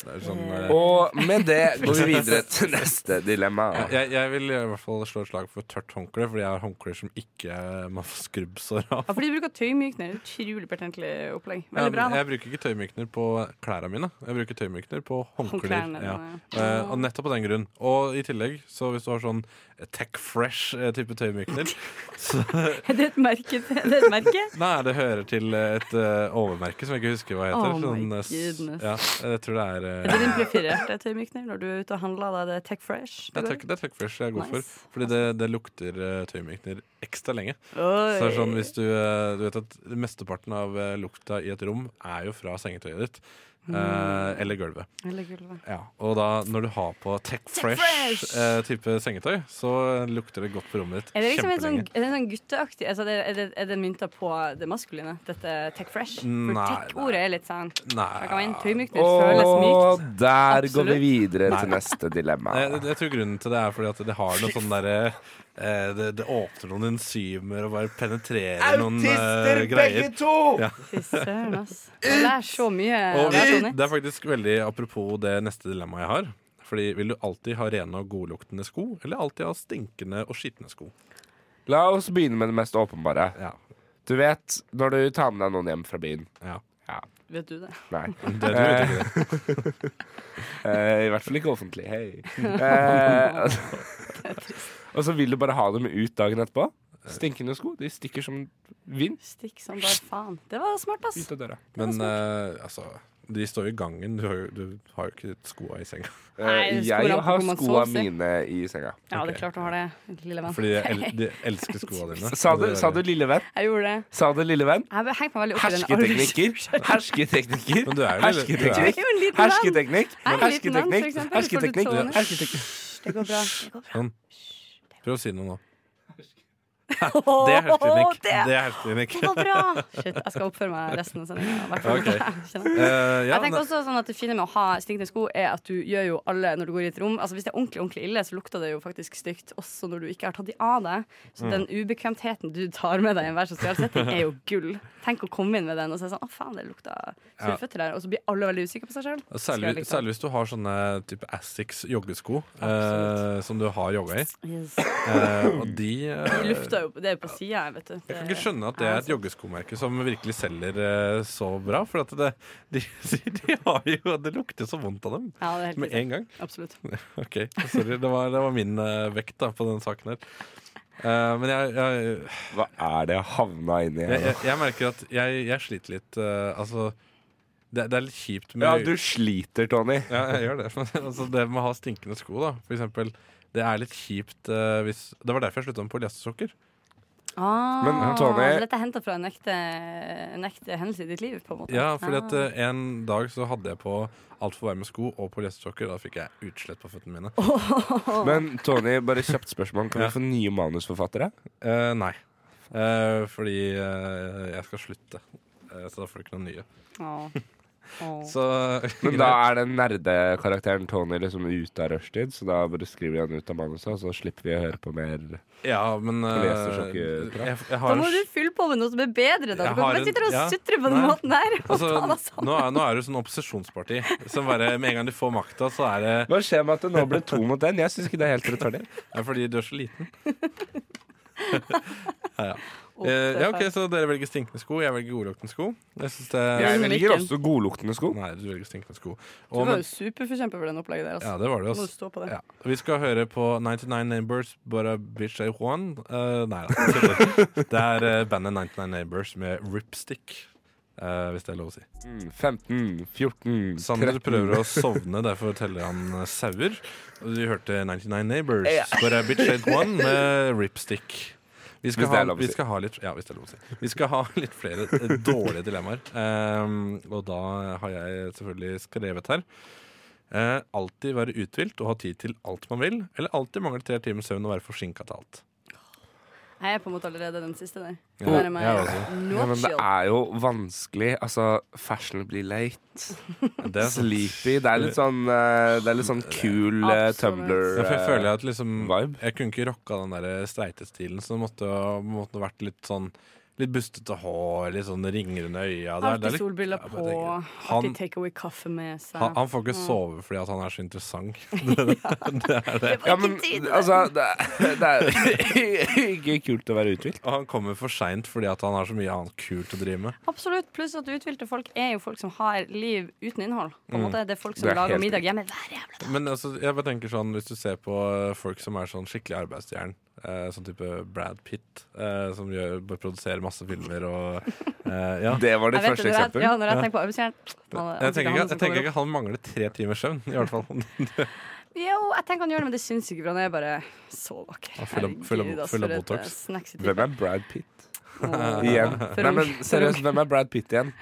S5: Det er sånn eh,
S6: Og med det går vi videre til neste dilemma.
S5: jeg, jeg vil i hvert fall slå et slag for tørt håndkle, fordi jeg har håndklær som ikke eh, man får skrubbsår av.
S1: Ja, fordi de bruker tøymykner. Utrolig pertentlig opplegg.
S5: Ja,
S1: Veldig bra.
S5: men
S1: da.
S5: Jeg bruker ikke tøymykner på klærne mine. Jeg bruker tøymykner på håndklær.
S1: Håndklærne
S5: Ja.
S1: dine.
S5: Eh, og nettopp på den grunn. Og i tillegg, så hvis du har sånn Tech Fresh-type tøymykner, så
S1: Er det et merke? Er det et merke?
S5: Nei, det hører til et eh, overmerke som jeg ikke husker hva heter.
S1: Oh
S5: sånn,
S1: my
S5: eh, s-
S1: goodness.
S5: ja, jeg tror det er eh,
S1: Er det din prefererte tøymykner når du er ute og handler? Da er det Tech Fresh?
S5: det er Tech- det er Tech Fresh jeg er god for.
S1: Nice.
S5: Fordi det, det lukter eh, tøymykner ekstra lenge. Så det sånn,
S1: Oi.
S5: er sånn hvis du, eh, du vet at Mesteparten av eh, lukta i et rom er jo fra sengetøyet ditt. Eh,
S1: Mm.
S5: eller gulvet.
S1: Eller gulvet.
S5: Ja. Og da, når du har på Tech
S1: Fresh!
S5: Fresh-type sengetøy, så lukter det godt på rommet ditt
S1: Er det liksom en sånn,
S5: kjempelenge.
S1: er det en sånn gutteaktig altså det, er, det, er det mynta på det maskuline? Dette tech fresh? For
S5: Nei,
S1: tech-ordet er litt sånn
S5: Nei.
S1: Kan være en tøymykner, føles mykt.
S6: Og der går vi
S1: Absolutt.
S6: videre
S5: Nei.
S6: til neste dilemma.
S5: Nei, jeg, jeg tror grunnen til det er fordi at det har noe sånn derre eh, det, det åpner noen enzymer og bare penetrerer noen eh, greier.
S6: to!
S5: Ja.
S1: Fy søren, ass. Det er så mye.
S5: Og
S1: det er,
S5: det er faktisk veldig apropos det neste dilemmaet jeg har. Fordi Vil du alltid ha rene og godluktende sko, eller alltid ha stinkende og skitne sko?
S6: La oss begynne med det mest åpenbare.
S5: Ja.
S6: Du vet når du tar med deg noen hjem fra byen.
S5: Ja.
S1: Vet du det?
S6: Nei.
S5: Det tror jeg ikke
S6: Eh, I hvert fall ikke offentlig. Hei. Eh, og så vil du bare ha dem ut dagen etterpå. Stinkende sko. De stikker som vind
S1: Stikk som bare faen. Det var smart, ass.
S6: ut av døra.
S5: Men eh, altså De står jo i gangen. Du har jo, du har jo ikke skoa i senga.
S6: Eh,
S1: Nei, skoene
S6: jeg
S1: på
S6: har
S1: hvor man
S6: skoa
S1: sover, si.
S6: mine i senga.
S1: Ja, det er klart du har det, lille venn.
S5: Fordi de, el de elsker skoa dine.
S6: Sa du, sa du lille venn?
S1: Jeg gjorde det.
S6: Sa du lille venn?
S1: Jeg be- hengte meg veldig opp i
S6: Hersketeknikker.
S1: den
S6: Hersketeknikker.
S5: Men du er jo lille- du er-
S1: Jeg er
S6: Hersketeknikk.
S1: jo en liten venn.
S6: Hersketeknikk.
S1: Jeg er en liten venn, for
S6: Hersketeknikk.
S1: eksempel.
S6: Hersketeknikk.
S1: Får
S6: Hersketeknikk.
S1: du tåne? Det går bra. Det går bra.
S5: Prøv å si noe nå. Det er
S1: Åh,
S5: hersketeknikk.
S1: det-
S5: Det er hersketeknikk.
S1: Det var bra! Shit, jeg skal oppføre meg resten av sendinga.
S5: Ok. Eh, ja,
S1: Jeg tenker
S5: ne-
S1: også sånn at Det fine med å ha stinkende sko er at du gjør jo alle når du går i et rom. Altså Hvis det er ordentlig ordentlig ille, så lukter det jo faktisk stygt også når du ikke har tatt de av deg.
S5: Mm.
S1: Så den ubekvemtheten du tar med deg i enhver sosial setting, er jo gull. Tenk å komme inn med den og si sånn Å, faen, det lukta sure
S5: Ja.
S1: føtter der. Og så blir alle veldig usikre på seg sjøl.
S5: Og eh, Særlig, særlig hvis du har sånne type Asics joggesko eh, som du har jogga i.
S1: Yes.
S5: Eh, og de eh,
S1: De lufta jo Det er jo på sida, vet du.
S5: Jeg kan ikke skjønne at det er et joggeskomerke som virkelig selger eh, så bra. For at det, de, de har jo Det lukter så vondt av dem
S1: Ja, det er helt
S5: med
S1: riktig.
S5: en gang.
S1: Absolutt.
S5: OK, sorry. Det var, det var min eh, vekt da på den saken her. Eh, men jeg, jeg,
S6: Hva er det jeg havna inni
S5: jeg,
S6: her?
S5: jeg, jeg merker at jeg, jeg sliter litt. eh, altså det, det er litt kjipt med
S6: Ja, du sliter, Tony.
S5: Ja, jeg gjør det. Men altså, det med å ha stinkende sko, da, for eksempel. Det er litt kjipt eh, hvis Det var derfor jeg slutta med polyestersokker.
S1: Ah,
S6: Men, Tony-
S1: Dette er henta fra en ekte, en ekte hendelse i ditt liv, på en måte.
S5: Ja, fordi at
S1: Ah.
S5: eh, en dag så hadde jeg på altfor varme sko og polyestersokker. Da fikk jeg utslett på føttene mine.
S6: Men Tony, bare kjapt spørsmål. Kan
S5: Ja.
S6: vi få nye manusforfattere?
S5: Eh, nei. Eh, fordi eh, jeg skal slutte. Eh, Så da får du ikke noen nye.
S1: Åh. Ah. Åh.
S5: Så eh,
S6: Men da er den nerdekarakteren Tony liksom ute av rushtid, så da bare skriver vi han ut av manuset, og så slipper vi å høre på mer.
S5: Ja, men eh,
S6: Polyestersokker, tror jeg.
S5: jeg, jeg
S1: Da
S5: har
S1: må
S5: en
S1: du fylle på med noe som er bedre. Da.
S5: Jeg
S1: Du kan
S5: har
S1: ikke
S5: en-
S1: sitte og
S5: ja.
S1: sutre på den
S5: Nei.
S1: måten der. og
S5: Altså,
S1: ta deg sammen.
S5: nå, er, nå er du sånn opposisjonsparti som bare med en gang de får makta, så er det
S6: Hva skjer med at det nå ble to mot én? Jeg syns ikke det er helt rettferdig.
S5: Det er fordi du er så liten. ja, ja. Eh, ja, ok, Så dere velger stinkende sko, jeg velger godluktende sko. Jeg synes det
S6: Jeg
S1: Men
S6: velger
S1: hvilken?
S6: også godluktende sko.
S5: Nei, du velger stinkende sko.
S1: Du
S5: Og,
S1: var
S5: men,
S1: jo superforkjemper for den opplegget der.
S5: ja,
S1: Altså.
S5: det var det,
S1: Må du
S5: ass.
S1: stå på det.
S5: Ja. Vi skal høre på 99 Neighbors But a Bitch I Juan. Eh, nei da. tuller. Det er eh, bandet 99 Neighbors med Ripstick. eh, hvis det er lov å si.
S6: 15, 14,
S5: Sander
S6: 13
S5: prøver å sovne, derfor teller han eh, sauer. Og Vi hørte 99 Neighbors But a Bitch I Juan med Ripstick. Vi skal,
S6: Hvis det
S5: ha,
S6: er lov å
S5: vi,
S6: si.
S5: skal ha litt, ja, hvis det er lov å si. vi skal ha litt flere eh, dårlige dilemmaer. Um, og da har jeg selvfølgelig skrevet her. Eh, alltid være uthvilt og ha tid til alt man vil, eller alltid mangle tre timer søvn og være forsinka til alt.
S1: Jeg er på en måte allerede den siste der.
S5: Ja,
S1: Der er meg
S5: Oh, jeg også.
S6: Ja,
S1: no
S6: men det
S1: chill.
S6: er jo vanskelig. Altså, fashionably late,
S5: Det er sant.
S6: sleepy Det er litt sånn, eh, det er litt sånn cool uh,
S1: Absolutt.
S6: Tumbler.
S5: Ja, for jeg føler at liksom
S6: eh, vibe.
S5: Jeg kunne ikke rocka den der eh, streitestilen, så det måtte, måtte vært litt sånn Litt bustete hår, litt sånn ringer under øya. Det er- det er
S1: Alltid
S5: litt-
S1: solbriller
S5: Ja, men
S1: på,
S5: det-
S1: alltid
S5: han-
S1: take away kaffe med seg.
S5: Han, han får ikke sove fordi at han er så interessant.
S6: ja, men altså det er, det er ikke kult å være uthvilt.
S5: Og han kommer for seint fordi at han har så mye annet kult å drive med.
S1: Absolutt. Pluss at uthvilte folk er jo folk som har liv uten innhold. På en
S5: Mm.
S1: måte. Det er folk som
S6: Det er
S1: lager
S6: helt
S1: middag hjemme hver jævla dag.
S5: Men altså, jeg bare tenker sånn, hvis du ser på eh, folk som er sånn skikkelig arbeidsstjerne, eh, sånn type Brad Pitt, eh, som gjør, bare produserer masse filmer og eh, Ja.
S6: Det var ditt
S1: Jeg vet
S6: første
S1: det, når jeg-
S6: eksempel.
S1: Ja, når jeg tenker på arbeidsjern
S5: Jeg tenker, ikke, jeg tenker ikke han mangler tre timers søvn, i hvert fall.
S1: Jo, jeg tenker han gjør det, men det syns ikke, for han er bare så vakker.
S5: Han full av- full av-
S1: ass,
S5: full av
S1: for et,
S5: Botox.
S1: eh, snacks i
S6: Hvem
S1: typen.
S6: er Brad Pitt
S1: Åh.
S6: igjen?
S1: For
S6: Nei,
S1: ung.
S6: men seriøst, hvem er Brad Pitt igjen?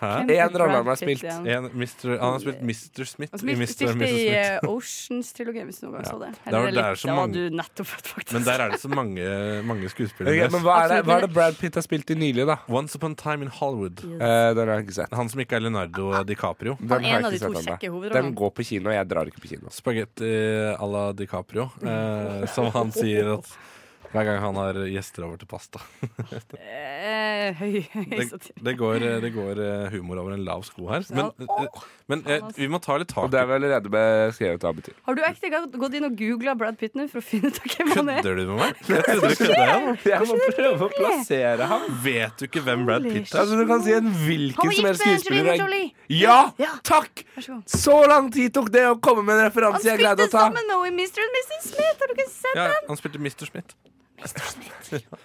S5: Hæ?
S6: En rolle han har spilt.
S5: En, Mr. Han har spilt Mr. Smith
S1: Altså,
S5: i
S1: Mr.
S5: Mr. og
S1: Spilte
S5: Mrs.
S1: i
S5: Smith.
S1: eh, Oceans-trilogien, hvis du noen gang så det.
S5: Det er,
S1: Eller
S5: vel- det er så
S1: litt-
S5: mange,
S1: Det var du nettopp født, faktisk.
S5: Men der er det så mange, mange skuespillere.
S6: Ok, men hva er, det,
S1: Absolutt,
S6: hva er
S1: men-
S6: det Brad Pitt har spilt i nylig, da?
S5: Once Upon a Time in Hollywood.
S6: Eh, den har jeg ikke sett.
S5: Han som ikke er Leonardo DiCaprio.
S6: Den
S1: Han
S6: har
S1: er en
S6: jeg
S1: av de
S6: ikke
S1: to
S6: sett ennå.
S1: kjekke
S6: Den
S1: hovedrollene.
S6: går på kino, og jeg drar ikke på kino. altså.
S5: Spagetti à la DiCaprio, eh, som han sier at hver gang han har gjester over til pasta.
S1: Eh, høy, høy
S5: Det,
S1: satir.
S5: det, går, eh, det går eh, humor over en lav sko her. Men, eh, men eh, vi må ta litt
S6: Og
S5: tak
S6: det
S5: i
S6: er vi allerede beskrevet hva det betyr.
S1: Har du ekte gang gått inn og googla Brad Pitt nå for å finne ut av hvem han er?
S5: Kødder du med meg? Jeg trodde du kødda igjen.
S6: Jeg må prøve å plassere ham.
S5: Vet du ikke hvem Brad Pitt er?
S6: Altså, du kan si en hvilken som helst skuespiller. er-
S1: Jolie!
S6: Ja!
S1: Ja.
S6: Takk!
S1: Vær så god.
S6: Så lang tid tok det å komme med en
S1: Han
S6: referanse jeg greide
S1: spilte
S6: å ta.
S1: sammen med henne i Mr. and Mrs. Smith! Har du ikke sett
S5: Ja, han spilte Mr. Smith.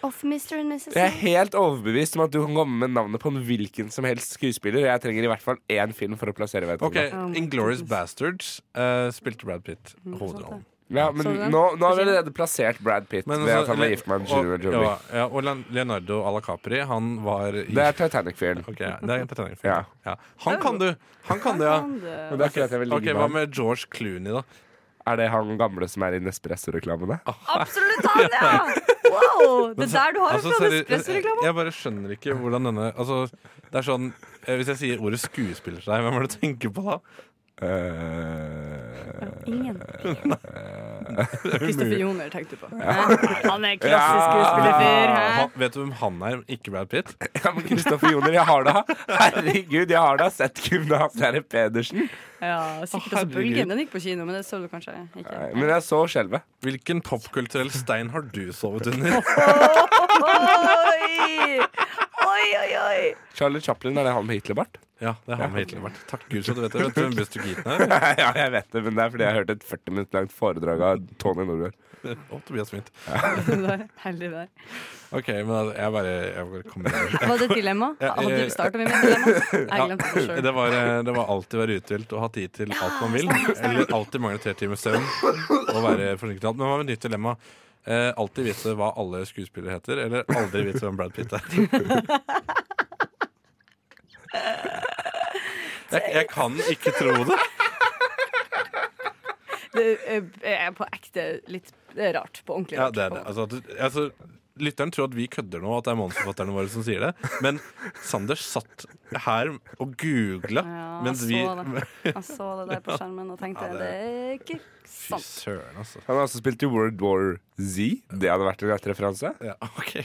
S1: Off Mr. and Mrs.
S6: Jeg er
S1: Smith?
S6: helt overbevist om at du kan komme med navnet på en hvilken som helst skuespiller. Og jeg trenger i hvert fall én film for å plassere
S5: OK.
S6: vedkommende.
S1: Oh my
S5: Inglorious
S1: goodness. Mm,
S5: Bastards eh, spilte Brad Pitt hovedrollen.
S6: Ja,
S1: Så
S6: men
S1: du den?
S6: nå, nå har vi allerede plassert Brad Pitt
S5: Men
S6: ved
S5: altså,
S6: at han var gift med Angelina
S5: og-
S6: Jolie.
S5: Ja, ja, og Leon- Leonardo Alacapri, han var i
S6: Det er Titanic-fyren.
S5: Ok, det er en Titanic-film.
S6: Ja.
S5: Ja. Han kan du! Han kan det, ja.
S1: Kan du-
S6: Men det er ikke at jeg vil ligge
S5: Ok,
S6: med
S5: Hva
S6: han.
S5: med George Clooney, da?
S6: Er det han gamle som er i Nespresso-reklamene?
S5: Ah.
S1: Absolutt han, ja! Wow! Det er der du har
S5: Altså,
S1: det fra
S5: seri-
S1: Nespresso-reklama.
S5: Jeg bare skjønner ikke hvordan denne Altså, det er sånn eh, Hvis jeg sier ordet skuespiller til deg, hvem er det du tenker på da?
S6: Eh,
S1: Ingen. Kristoffer Joner tenkte du på. Han er klassisk
S6: Ja.
S1: skuespillerfyr. hæ?
S5: Ah, Han, vet du hvem han er, ikke Brad Pitt?
S6: ja, men Kristoffer Joner, jeg har da Herregud, jeg har da sett Gymnas Terje Pedersen.
S1: Ja, sikkert også
S5: herregud.
S1: Bølgen. Den gikk på kino, men det så du kanskje ikke.
S6: Nei, Men jeg så skjelvet.
S5: Hvilken popkulturell stein har du sovet under?
S1: Oi! Oi, oi, oi!
S6: Charlie Chaplin, er det han med Hitlerbart?
S5: Ja, det har med Hitler vært. Takk Gud, så du vet det. Vet du hvem Buster Keaton er?
S6: ja, jeg vet det, men det er fordi jeg hørte et 40 minutter langt foredrag av Tony Norgård.
S5: Og Tobias Smith.
S1: Heldig der.
S5: Ok, men altså, jeg bare, jeg bare kommer over.
S1: Var det et dilemma?
S5: Ja,
S1: Hadde
S5: eh,
S1: du starta med et dilemma?
S5: Ja,
S1: Jeg glemte det sjøl.
S5: Det var, eh, det var alltid være uthvilt og ha tid til alt man vil. Eller alltid mangle tre timers søvn og være forsinket til alt. Men hva med nytt dilemma? Eh, alltid vite hva alle skuespillere heter, eller aldri vite hvem Brad Pitt er. Jeg, jeg kan ikke tro det.
S1: Det eh, er på ekte litt det er rart. På ordentlig
S5: Ja,
S1: rart.
S5: det er det. Altså, at, du- altså, lytteren tror at vi kødder nå, at det er monsterforfatterne våre som sier det. Men Sander satt her og googla
S1: Ja,
S5: mens
S1: jeg
S5: vi
S1: så Jeg så det der på skjermen og tenkte
S5: Ja, det-
S1: det er ikke
S5: Fy
S1: sant.
S5: søren, altså.
S6: Han har også spilt i World War Z. Det hadde vært en rett referanse.
S5: Ja, ok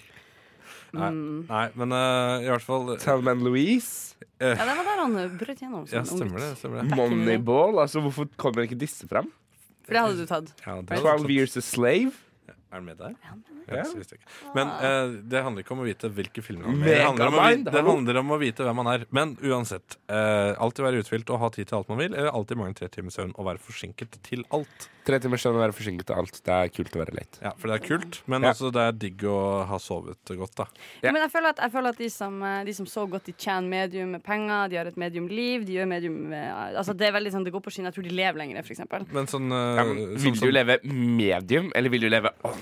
S5: Nei,
S1: Mm.
S5: nei men eh, i hvert fall
S6: Talman Louise.
S1: Ja, det var der han eh, brøt gjennom. som
S5: Ja,
S1: ung
S5: stemmer
S1: gutt.
S5: det. Stemmer det.
S6: Moneyball. Altså, hvorfor kommer ikke disse fram?
S1: For det hadde du tatt.
S5: Ja, det er,
S6: 12 Years a Slave.
S5: er den med der?
S6: Ja.
S5: Ja, så visste jeg ikke. Men eh, det handler ikke om å vite hvilke filmer han er med i. Det handler, om å
S6: Megamind,
S5: vite, det
S6: hallo.
S5: handler om å vite hvem han er. Men uansett. eh, alltid være uthvilt og ha tid til alt man vil, eller alltid mange tre timers søvn og være forsinket til alt.
S6: Tre timer søvn og være forsinket til alt. Det er kult å være late.
S5: Ja, For det er kult, men
S6: Ja.
S5: også det er digg å ha sovet godt, da.
S1: Ja. Men jeg føler at, jeg føler at de, som, eh, de som så godt de tjener medium med penger, de har et medium liv, de gjør medium eh, Altså det er veldig sånn, det går på skinner. Jeg tror de lever lenger, for eksempel.
S5: Men sånn, eh,
S6: Ja, men
S5: sånn,
S6: vil du
S5: som,
S6: leve medium, eller vil du leve Åh,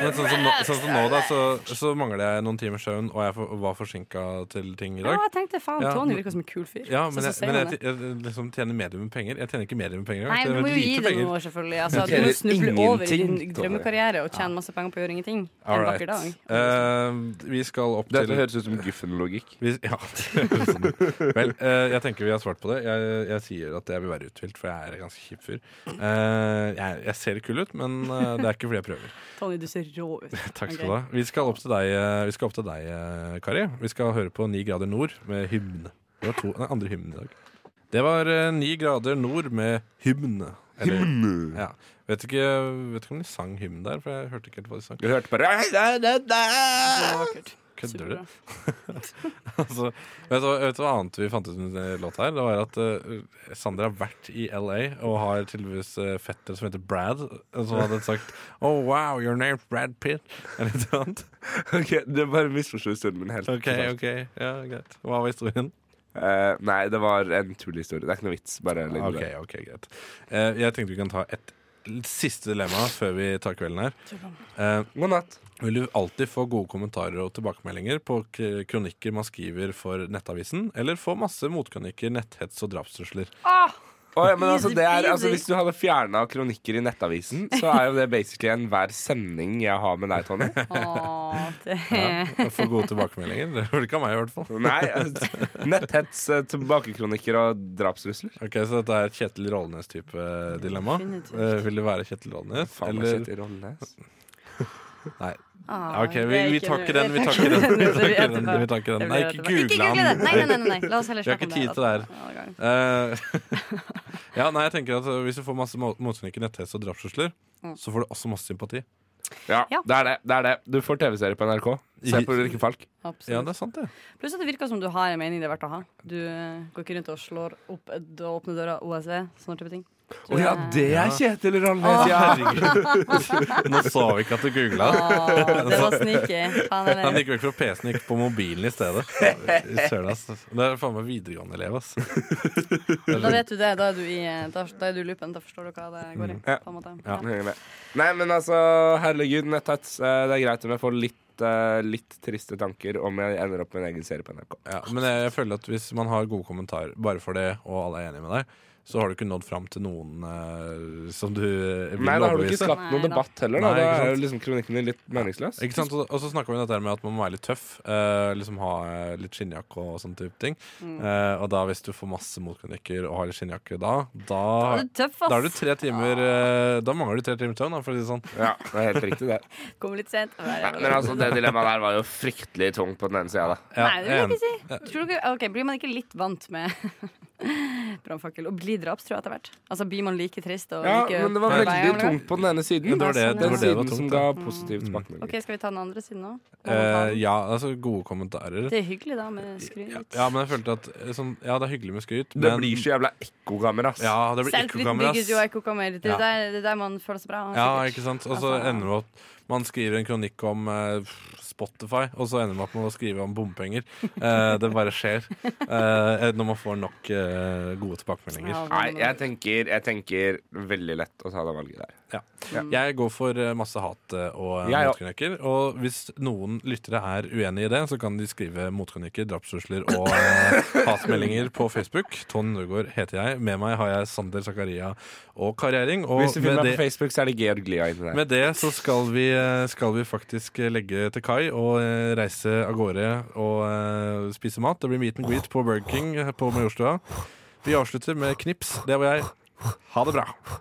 S5: men sånn, som, nå, sånn som nå, da, så, så mangler jeg noen timers søvn, og jeg for, var forsinka til ting i
S1: Ja,
S5: dag.
S1: jeg tenkte faen,
S5: Ja,
S1: Tony
S5: men-
S1: virker som en kul fyr.
S5: Ja,
S1: Så-
S5: men,
S1: så
S5: jeg,
S1: sier
S5: men
S1: han
S5: jeg,
S1: det.
S5: jeg, liksom tjener medium med penger. Jeg tjener ikke medium med penger engang.
S1: Nei,
S5: jeg
S1: men
S5: tjener
S1: du må jo
S5: lite
S1: gi det
S5: penger.
S1: noe, selvfølgelig. Altså, du
S6: tjener
S1: må snuble over i din
S6: ingenting, Tony.
S1: drømmekarriere og tjene masse penger på å gjøre ingenting. En
S5: Alright.
S1: vakker dag. sånn.
S5: Eh, vi skal opp
S6: Dette
S5: til
S6: høres ut som Guffen-logikk.
S5: vi, Ja, det høres sånn ut. Vel, eh, jeg tenker vi har svart på det. Jeg, jeg sier at jeg vil være uthvilt, for jeg er en ganske kjip fyr. Eh, jeg, jeg ser kul ut, men eh, det er ikke fordi jeg prøver.
S1: Tony, du ser rå ut.
S5: Takk skal du ha. Vi skal opp til deg, eh, vi skal opp til deg eh, Kari. Vi skal høre på Ni grader nord med hymne. Det var to, nei, andre hymne i dag. Det var eh, Ni grader nord med hymne. Eller, Ja. Vet, ikke, vet ikke om de sang hymne der, for jeg hørte ikke helt hva de sang.
S6: Du hørte bare
S1: Vakkert.
S5: Kødder du?
S1: Superbra.
S5: altså, vet, du, hva- vet du hva annet vi fant ut med den låta her? Det var at eh, Sander har vært i LA og har tydeligvis eh, fetter som heter Brad, eh, som hadde sagt Oh wow, your name's Brad Pitt. Eller noe annet.
S6: Ok, Du bare misforsto historien min helt.
S5: OK, OK. Ja, greit. Hva var historien?
S6: Eh, nei, det var en tullhistorie. Det er ikke noe vits. Bare legg det
S5: OK, ok, greit. Eh, jeg tenkte vi kan ta et Siste dilemma før vi tar kvelden her.
S1: Kjør på.
S5: God natt. Vil du alltid få gode kommentarer og tilbakemeldinger på k- kronikker man skriver for Nettavisen, eller få masse motkronikker, netthets og drapstrusler?
S1: Ah!
S6: Å, ja, men altså,
S1: Easy
S6: det er,
S1: peasy.
S6: altså, hvis du hadde fjerna kronikker i Nettavisen, så er jo det basically enhver sending jeg har med deg, Tonje.
S1: Å, det
S5: Få gode tilbakemeldinger. Det var ikke av meg, i hvert fall.
S6: Nei, altså, netthets, eh, tilbakekronikker og drapstrusler.
S5: Ok, Så dette er et Kjetil Rollenes-type dilemma.
S1: Definitivt.
S5: Eh, vil det være Kjetil Rollenes,
S6: Faen, jeg
S5: eller
S6: sitter i Rollenes.
S5: Nei.
S1: Ah,
S5: ok, vi-
S1: det er
S5: vi tar ikke den, vi
S1: det er
S5: tar ikke den, vi
S1: det blir
S5: tar ikke den,
S1: etterpå.
S5: vi tar ikke den.
S1: Det blir
S5: Nei, ikke
S1: etterpå.
S5: google
S1: google
S5: han.
S1: den. Nei, nei, nei, nei, nei. La oss heller
S5: Vi har
S1: snakke om
S5: ikke
S1: det.
S5: tid til det Eh, ja, nei, jeg tenker at eh, Hvis du får masse mo- motkronikker, netthets og drapstrusler,
S1: Mm.
S5: så får du også masse sympati.
S6: Ja,
S1: Ja.
S6: det er det. det er det Du får TV-serie på NRK. Se på Ulrikke Falk.
S5: Ja, det
S1: Absolutt.
S5: er sant, det.
S1: Pluss at det virker som du har en mening det er verdt å ha. Du eh, går ikke rundt og slår opp d- åpne døra, OSV, sånne type ting. Du,
S6: Å ja,
S1: eh,
S6: det er Kjetil Rollenes, ja!
S5: Herregud. Nå så vi ikke at du googla.
S1: eh, Å, det var sneaky. Faen
S5: Han
S1: heller.
S5: gikk vekk fra PC-en og gikk på mobilen i stedet. Søren, ass. Det er faen meg videregående-elev, ass.
S1: Da vet du det. Da er du i eh, da, da er du i loopen. Da forstår du hva det går i.
S6: Ja.
S1: På en måte.
S5: Mm. Ja.
S1: Ja.
S6: Nei, men altså, herregud, netthets. eh, Det er greit om jeg får litt, eh, litt triste tanker om jeg ender opp med en egen serie på NRK.
S5: Ja, men jeg, jeg føler at hvis man har gode kommentarer bare for det, og alle er enige med deg, så har du ikke nådd fram til noen eh, som du eh, vil
S6: Nei, da har du
S5: overbevise.
S6: ikke skapt noen
S1: Nei da.
S6: debatt heller. Da,
S5: Nei, ikke
S6: da er jo
S5: sant.
S6: liksom kronikken din litt meningsløs.
S5: Ikke sant? Og og så snakker vi om dette her med at man må være litt tøff. eh, liksom ha eh, litt skinnjakke og sånne type ting.
S1: Mm.
S5: Eh, og da hvis du får masse motkronikker og har litt skinnjakke da, da,
S1: Da er du tøff,
S5: da er du
S1: ass.
S5: tre timer eh, Da mangler du tre timer søvn, da, for å si det sånn.
S6: Ja, det er helt riktig, det.
S1: Kommer litt sent.
S6: Nei, men altså, det dilemmaet der var jo fryktelig tungt på den ene sida, da.
S5: Ja,
S1: Nei, det vil jeg
S5: en-
S1: ikke si. Tror du ikke, ok, Blir man ikke litt vant med brannfakkel? Og blir drapstrua etter hvert? Altså Blir man like trist? Og
S6: Ja,
S1: like
S6: men det var
S1: forbanna?
S6: veldig tungt på den ene siden.
S5: Men det var det-
S6: den
S1: det var
S5: det det var
S6: siden
S5: tungt, Mm.
S6: som ga
S5: da.
S6: positiv tilbakemelding.
S1: Ok, Skal vi ta den andre siden nå?
S5: Eh, ja, altså gode kommentarer.
S1: Det er hyggelig, da, med skryt.
S5: Ja, men jeg følte at eh, sånn, Ja, det er hyggelig med skryt,
S6: Det
S5: men
S6: blir så jævla ekkokammer, ass.
S5: ja, det blir
S1: Selvtillit
S5: ekkokamera. ass.
S1: bygges jo av ekokammer. Det
S5: Ja.
S1: er der, det er der man føler seg bra.
S5: Ja,
S1: sikkert.
S5: ikke sant? Og så
S1: Altså-
S5: ender det med at man skriver en kronikk om eh, Spotify, og så ender man opp med å skrive om bompenger. Eh, det bare skjer eh, når man får nok eh, gode tilbakemeldinger.
S1: Ja,
S6: Nei,
S1: men-
S6: jeg tenker, jeg tenker veldig lett å ta det valget der.
S5: Jeg går for eh, masse hat eh, og eh,
S6: Jeg òg.
S5: motkronikker. Og hvis noen lyttere er uenig i det, så kan de skrive motkronikker, drapstrusler og eh, hatmeldinger på Facebook. Ton Nørgaard heter jeg. Med meg har jeg Sander Zakaria og Karriering. Og
S6: Hvis du finner
S5: med
S6: meg
S5: det-
S6: på Facebook, så er det Georg Lia inni der.
S5: Med det så skal vi, eh, skal vi faktisk legge til kai og eh, reise av gårde og eh, spise mat. Det blir meet and greet eh, på Burger King på Majorstua. Vi avslutter med knips. Det var jeg. Ha det bra.